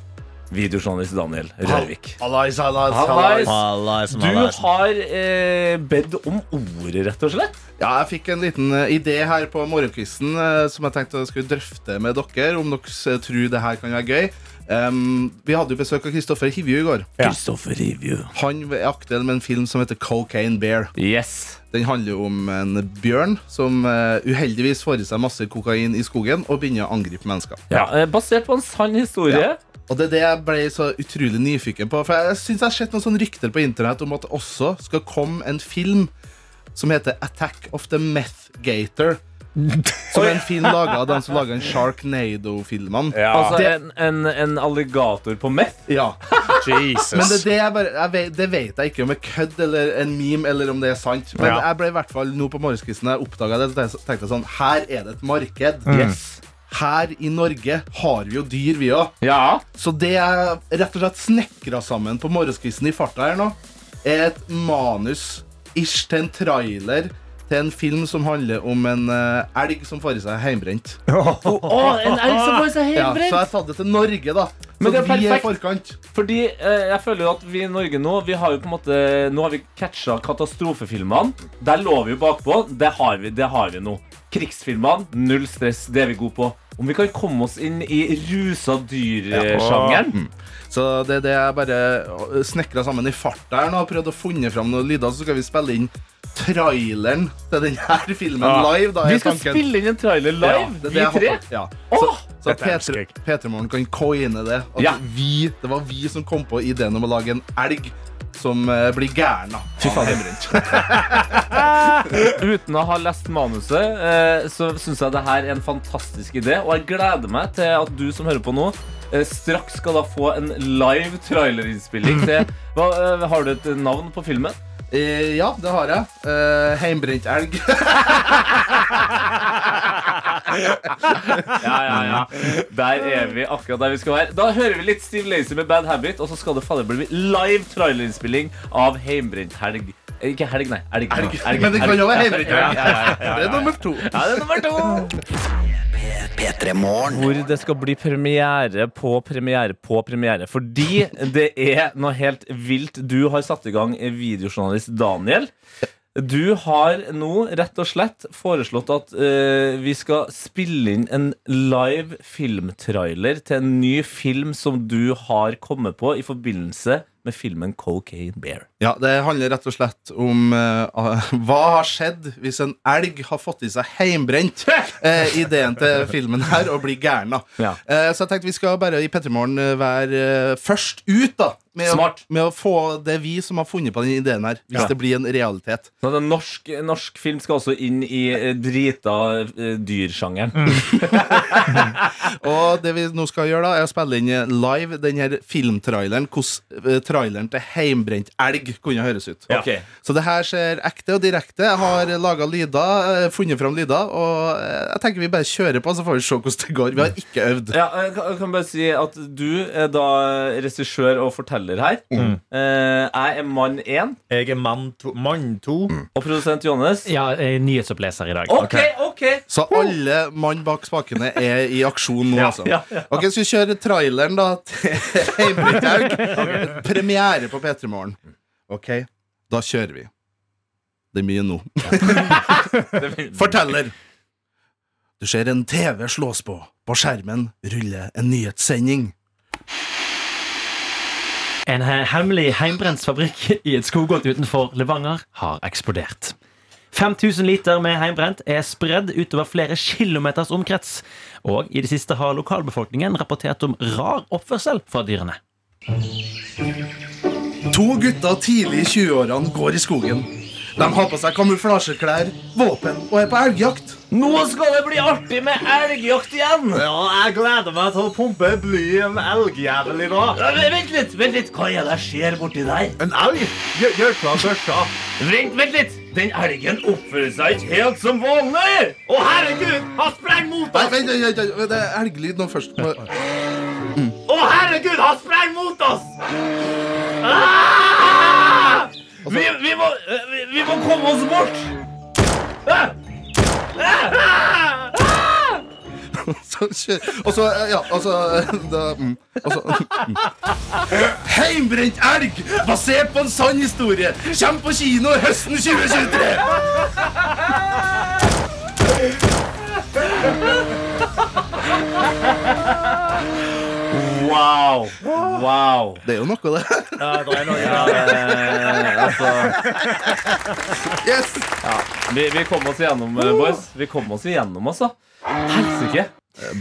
Speaker 2: videojournalist Daniel Rørvik.
Speaker 7: Hallais, hallais,
Speaker 2: hallais.
Speaker 7: hallais.
Speaker 2: Du har eh, bedt om ordet, rett og slett.
Speaker 8: Ja, jeg fikk en liten eh, idé her på morgenkvisten eh, som jeg tenkte jeg skulle drøfte med dere, om dere eh, tror det her kan være gøy. Em, vi hadde jo besøk av Kristoffer Hivju i går.
Speaker 2: Kristoffer Review.
Speaker 8: Han er aktuell med en film som heter Cocaine Bear.
Speaker 2: Yes.
Speaker 8: Den handler jo om en bjørn som eh, uheldigvis får i seg masse kokain i skogen og begynner å angripe mennesker.
Speaker 2: Ja, eh, basert på en sann historie.
Speaker 8: Og det er det jeg ble så utrolig nyfiken på. For jeg syns jeg har sett noen sånne rykter på internett om at det også skal komme en film som heter Attack of the Meth Gator. Som er en film laga av dem som laga Sharknado-filmene.
Speaker 3: Ja.
Speaker 2: Altså
Speaker 8: Det-
Speaker 2: en, en, en alligator på meth.
Speaker 8: Ja.
Speaker 3: Jesus.
Speaker 8: Men det, er det, jeg bare, jeg vet, det vet jeg ikke om er kødd eller en meme eller om det er sant. Men
Speaker 3: Ja.
Speaker 8: jeg ble i hvert fall nå på morgenskvisten jeg oppdaga det, så tenkte jeg sånn Her er det et marked.
Speaker 3: Mm.
Speaker 8: Her i Norge har vi jo dyr, vi òg.
Speaker 2: Ja.
Speaker 8: Så det jeg rett og slett snekra sammen på morgenskvisten i farta her nå, er et manus ish til en trailer til en film som handler om en eh, elg som får i seg heimbrent.
Speaker 2: en elg som får seg
Speaker 8: Ja, så jeg har tatt det til Norge, da. Så
Speaker 2: Men det er
Speaker 8: vi er i
Speaker 2: perfekt.
Speaker 8: forkant.
Speaker 2: Fordi eh, jeg føler jo at vi i Norge nå Vi har jo på en måte Nå har vi catcha katastrofefilmene. Der lå vi jo bakpå. Det har vi, det har vi nå. Krigsfilmene, null stress. Det er vi gode på. Om vi kan komme oss inn i rusa dyr-sjangeren.
Speaker 8: Så det er det jeg bare snekra sammen i farta her nå. og Prøvd å funne fram noen lyder, så skal vi spille inn traileren til denne filmen live. da
Speaker 2: Vi
Speaker 8: er
Speaker 2: skal
Speaker 8: tanken.
Speaker 2: spille inn en trailer
Speaker 8: Ja,
Speaker 2: live,
Speaker 8: det er det
Speaker 2: vi
Speaker 8: jeg
Speaker 2: tre.
Speaker 8: håper. Ja.
Speaker 2: Åh!
Speaker 8: Så
Speaker 3: Dette elsker jeg.
Speaker 8: P3morgen kan coine det. At
Speaker 2: Ja.
Speaker 8: vi, det var vi som kom på ideen om å lage en elg som eh, blir gæren. da.
Speaker 2: Uten å ha lest manuset, eh, så syns jeg det her er en fantastisk idé. Og jeg gleder meg til at du som hører på nå, eh, straks skal da få en live trailerinnspilling til hva, eh, Har du et navn på filmen?
Speaker 8: Eh, ja, det har jeg. Eh, heimbrent elg.
Speaker 2: Ja, ja, ja. Der er vi akkurat der vi skal være. Da hører vi litt Steve Lazy med Bad Habit, og så skal det fader bli live trailerinnspilling av Heimbrent helg. Eh, Ikke helg, nei. Elg. Elg, elg,
Speaker 8: Men det kan jo være heimbrent
Speaker 2: Ja,
Speaker 8: elg.
Speaker 2: ja, ja, ja.
Speaker 8: Det er nummer to.
Speaker 2: Ja, det er nummer to. Hvor det skal bli premiere på premiere på premiere. Fordi det er noe helt vilt. Du har satt i gang videojournalist Daniel. Du har nå rett og slett foreslått at eh, vi skal spille inn en live filmtrailer til en ny film som du har kommet på i forbindelse med filmen Cocaine Bear.
Speaker 8: Ja, Det handler rett og slett om eh, hva har skjedd hvis en elg har fått i seg heimbrent. eh, ideen til filmen her og blir gæren. da.
Speaker 2: Ja.
Speaker 8: Eh, så jeg tenkte vi skal bare i P3morgen eh, være eh, først ut da, med,
Speaker 2: Smart.
Speaker 8: Å, med å få det vi som har funnet på den ideen her, hvis det blir en realitet.
Speaker 2: Så den norsk, norsk film skal også inn i eh, drita eh, dyrsjangeren.
Speaker 8: Og det vi nå skal gjøre da, er å spille inn eh, live den her filmtraileren, hvordan eh, traileren til heimbrent elg kunne høres ut.
Speaker 2: Ja. Ok.
Speaker 8: Så det her ser ekte og direkte. Jeg har laga lyder, eh, funnet fram lyder, og eh, jeg tenker vi bare kjører på, så får vi se hvordan det går. Vi har ikke øvd.
Speaker 2: Ja, jeg kan- jeg kan bare si at du er da regissør og forteller her.
Speaker 3: Mm.
Speaker 2: Eh, jeg er mann én,
Speaker 3: Jeg er mann to. Mann to.
Speaker 2: og produsent Johannes.
Speaker 9: Ja, jeg er nyhetsoppleser i dag.
Speaker 2: Ok, ok!
Speaker 8: Så alle mann bak spakene er i aksjon nå, altså.
Speaker 2: ja,
Speaker 8: Ok, Skal vi kjøre traileren da til Heimbrent Haug? Premiere på P3 Morgen. Ok, da kjører vi. Det er mye nå. Forteller. Du ser en TV slås på. På skjermen ruller en nyhetssending.
Speaker 9: En eh, he- hemmelig heimbrentsfabrikk i et skogholt utenfor Levanger har eksplodert. 5000 liter med heimbrent er spredd utover flere kilometers omkrets. Og i det siste har lokalbefolkningen rapportert om rar oppførsel fra dyrene.
Speaker 8: To gutter tidlig i 20-årene går i skogen. De har på seg kamuflasjeklær, våpen og er på elgjakt.
Speaker 9: Nå skal det bli artig med elgjakt igjen!
Speaker 3: Ja, jeg gleder meg til å pumpe bly i en elgjævel i dag.
Speaker 9: Vent litt, vent litt, hva er det skjer borti der?
Speaker 3: En elg? Gjør, gjør klar børsa.
Speaker 9: Vent, vent litt! Den elgen oppfører seg ikke helt som vanlig! Å, herregud! Han sprenger mot
Speaker 8: Nei, vent, vent, vent, vent, det er elglyd nå først. Må-
Speaker 9: Å, herregud! Han sprenger mot oss! Ah! Vi, må, komme oss bort!
Speaker 8: Så kjø- Og så, ja, altså da, mm, og så, mm. Heimbrent elg, basert på en sann historie, kommer på kino høsten 2023.
Speaker 9: Wow! Wow!
Speaker 8: Det er jo noe, det.
Speaker 2: Eh, altså,
Speaker 8: Yes!
Speaker 2: Vi, vi kom oss igjennom, eh, boys. Vi kom oss igjennom, altså. Helsike.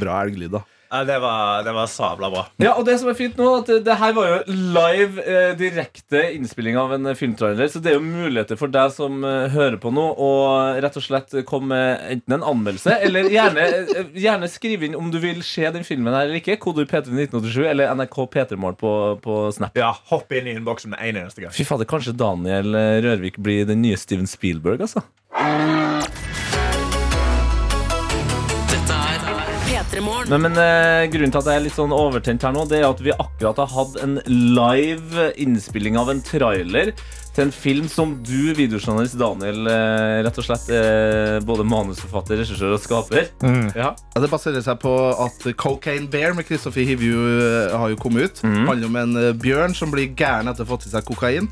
Speaker 8: Bra elglyd, da.
Speaker 3: Ja, det var, det var sabla bra.
Speaker 2: Ja, og det som er fint nå, at det her var jo live eh, direkte innspilling av en eh, filmtrailer, så det er jo muligheter for deg som eh, hører på nå, å rett og slett komme med enten en anmeldelse, eller gjerne, eh, gjerne skrive inn om du vil se den filmen her eller ikke, kodeord P31987 eller NRK P3morgen på, på Snap.
Speaker 3: Ja, Hopp inn i innboksen med en eneste gang.
Speaker 2: Fy fader, kanskje Daniel eh, Rørvik blir den nye Steven Spielberg, altså.
Speaker 5: Dette er
Speaker 1: P3morgen.
Speaker 2: Men, men eh, grunnen til at jeg er litt sånn overtent her nå, det er at vi akkurat har hatt en live innspilling av en trailer til en film som du, videojournalist Daniel, eh, rett og slett eh, både manusforfatter, regissør og skaper. Ja.
Speaker 8: Ja, det baserer seg på at Cocaine Bear med Kristoffer Hivju eh, har jo kommet ut. handler om en eh, bjørn som blir gæren etter å ha fått i seg kokain.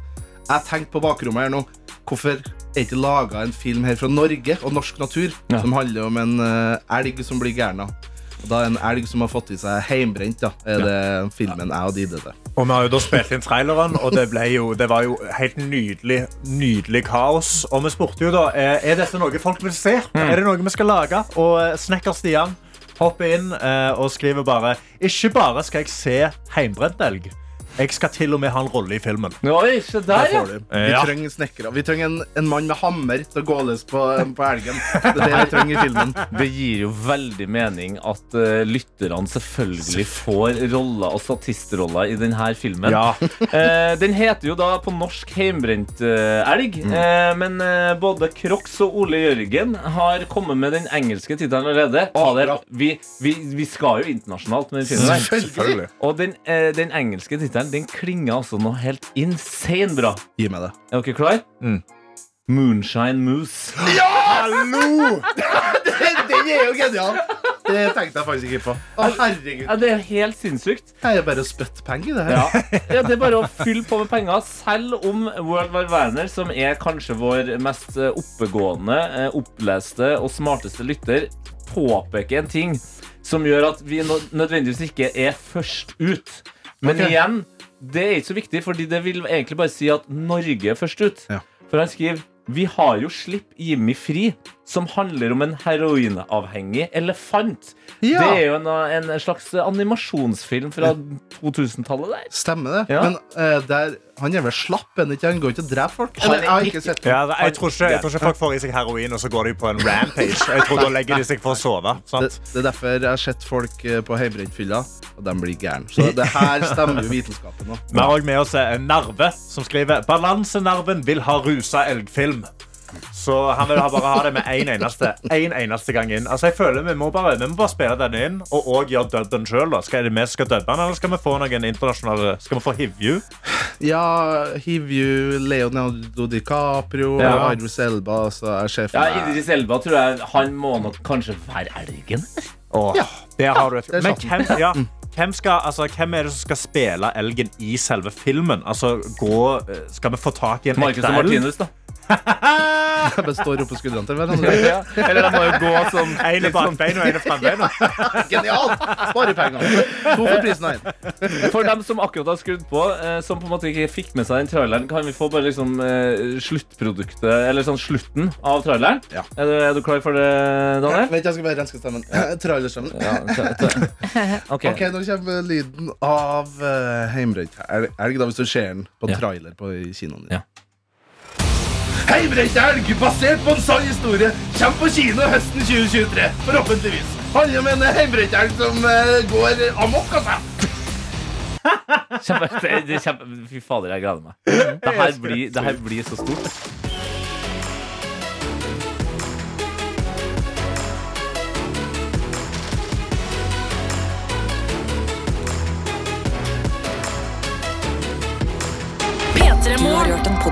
Speaker 8: Jeg tenkte på bakrommet her nå. Hvorfor er ikke laga en film her fra Norge og norsk natur
Speaker 2: Ja.
Speaker 8: som handler om en eh, elg som blir gæren? av? Og Da er en elg som har fått i seg heimbrent, da. Er det filmen jeg og de det.
Speaker 3: Og vi har jo da spilt inn traileren, og det, ble jo, det var jo helt nydelig nydelig kaos. Og vi spurte jo da eh, er dette noe folk vil se. Er det noe vi skal lage? Og eh, snekker Stian hopper inn eh, og skriver bare Ikke bare skal jeg se heimbrent elg, jeg skal til og med ha en rolle i filmen.
Speaker 2: Oi, se der, ja!
Speaker 8: Får du. Vi
Speaker 3: Ja.
Speaker 8: trenger snekkere. Vi trenger en, en mann med hammer til å gå løs på, eh, på elgen. Det er det vi trenger i filmen.
Speaker 2: Det gir jo veldig mening at eh, lytterne selvfølgelig får roller og statistroller i denne filmen.
Speaker 3: Ja.
Speaker 2: Eh, den heter jo da på norsk Heimbrent eh, elg, eh, men eh, både Crocs og Ole Jørgen har kommet med den engelske tittelen allerede. Fader, vi, vi, vi skal jo internasjonalt med den filmen. her.
Speaker 8: Selvfølgelig.
Speaker 2: Og den, eh, den engelske tittelen den klinger altså noe helt insane bra.
Speaker 8: Gi meg det.
Speaker 2: Er dere klare?
Speaker 3: Mm.
Speaker 2: Moonshine Moose.
Speaker 3: Hallo!
Speaker 8: Den er jo genial! Det tenkte jeg faktisk ikke på. Å, herregud.
Speaker 2: Ja, det er helt sinnssykt.
Speaker 8: Det er jo bare å spytte penger i det her.
Speaker 2: Ja. ja, det er bare å fylle på med penger. Selv om World Wide Werner, som er kanskje vår mest eh, oppegående, eh, oppleste og smarteste lytter, påpeker en ting som gjør at vi nå- nødvendigvis ikke er først ut. Men igjen, det er ikke så viktig, fordi det vil egentlig bare si at Norge er først ut.
Speaker 8: Ja.
Speaker 2: For han skriver vi har jo Slipp Jimmy fri, som handler om en heroinavhengig elefant. Det er jo en, en slags animasjonsfilm fra 2000-tallet der.
Speaker 8: Stemmer det.
Speaker 2: Ja.
Speaker 8: Men eh, der, han er vel slapp enn ikke? Han går ikke og dreper folk? Eller, jeg har ikke sett
Speaker 3: Ja, jeg, tror ikke, jeg tror ikke folk får i seg heroin, og så går de på en rampage. Jeg tror Da legger de seg for å sove.
Speaker 8: det,
Speaker 3: Sant?
Speaker 8: det er derfor jeg har sett folk eh, på heimebrentfylla, og de blir gærne. Så det her stemmer jo vitenskapen nå.
Speaker 3: Vi har også med oss en Narve, som skriver Balansenerven vil ha rusa elgfilm. Så han vil ha- bare ha det med én en eneste, en eneste gang inn. Altså, jeg føler Vi må bare, vi må bare spille den inn, og òg gjøre dubben sjøl. Skal det vi som skal dubbe den, eller skal vi få noen internasjonale Skal vi få Hivju?
Speaker 8: Ja, Hivju, Leonardo DiCaprio,
Speaker 2: Ja.
Speaker 8: Idris Elba, altså, så er sjefen
Speaker 2: Ja, Idris Elba tror jeg Han må nok kanskje være elgen.
Speaker 3: Åh, Der har du et
Speaker 8: er
Speaker 3: Men
Speaker 8: sant.
Speaker 3: hvem, ja, hvem, skal, altså, hvem er det som skal spille elgen i selve filmen? Altså, gå, Skal vi få tak i en
Speaker 2: Marcus og
Speaker 3: elg?
Speaker 2: Martinus, da.
Speaker 8: Jeg bare står oppå skuldrene til hverandre.
Speaker 6: Eller han må jo gå som sånn-
Speaker 3: En er bakbein og en er frambein.
Speaker 8: Genialt! Spare penger. To for prisen av én.
Speaker 2: For dem som akkurat har skrudd på, eh, som på en måte ikke fikk med seg den traileren, kan vi få bare liksom eh, sluttproduktet, eller sånn slutten av traileren?
Speaker 8: Ja.
Speaker 2: Er, du, er du klar for det, Daniel?
Speaker 8: Vent, jeg skal bare renske stemmen. Eh, Trallerstemmen.
Speaker 2: Ok.
Speaker 8: Ok, Nå kommer lyden av uh, heimbrent elg, elg, da, hvis du ser den på en
Speaker 9: Ja.
Speaker 8: trailer på i kinoen. din.
Speaker 9: Ja.
Speaker 8: Heimbrent elg, basert på en sann historie, kommer på kino høsten 2023. Forhåpentligvis. Handler om en heimbrent elg som eh, går amok av seg.
Speaker 2: Kjempe, det, det, er kjempe, fy fader, jeg gleder meg. Det her blir, det her blir så stort.
Speaker 1: P3 Morgen.
Speaker 10: hørt en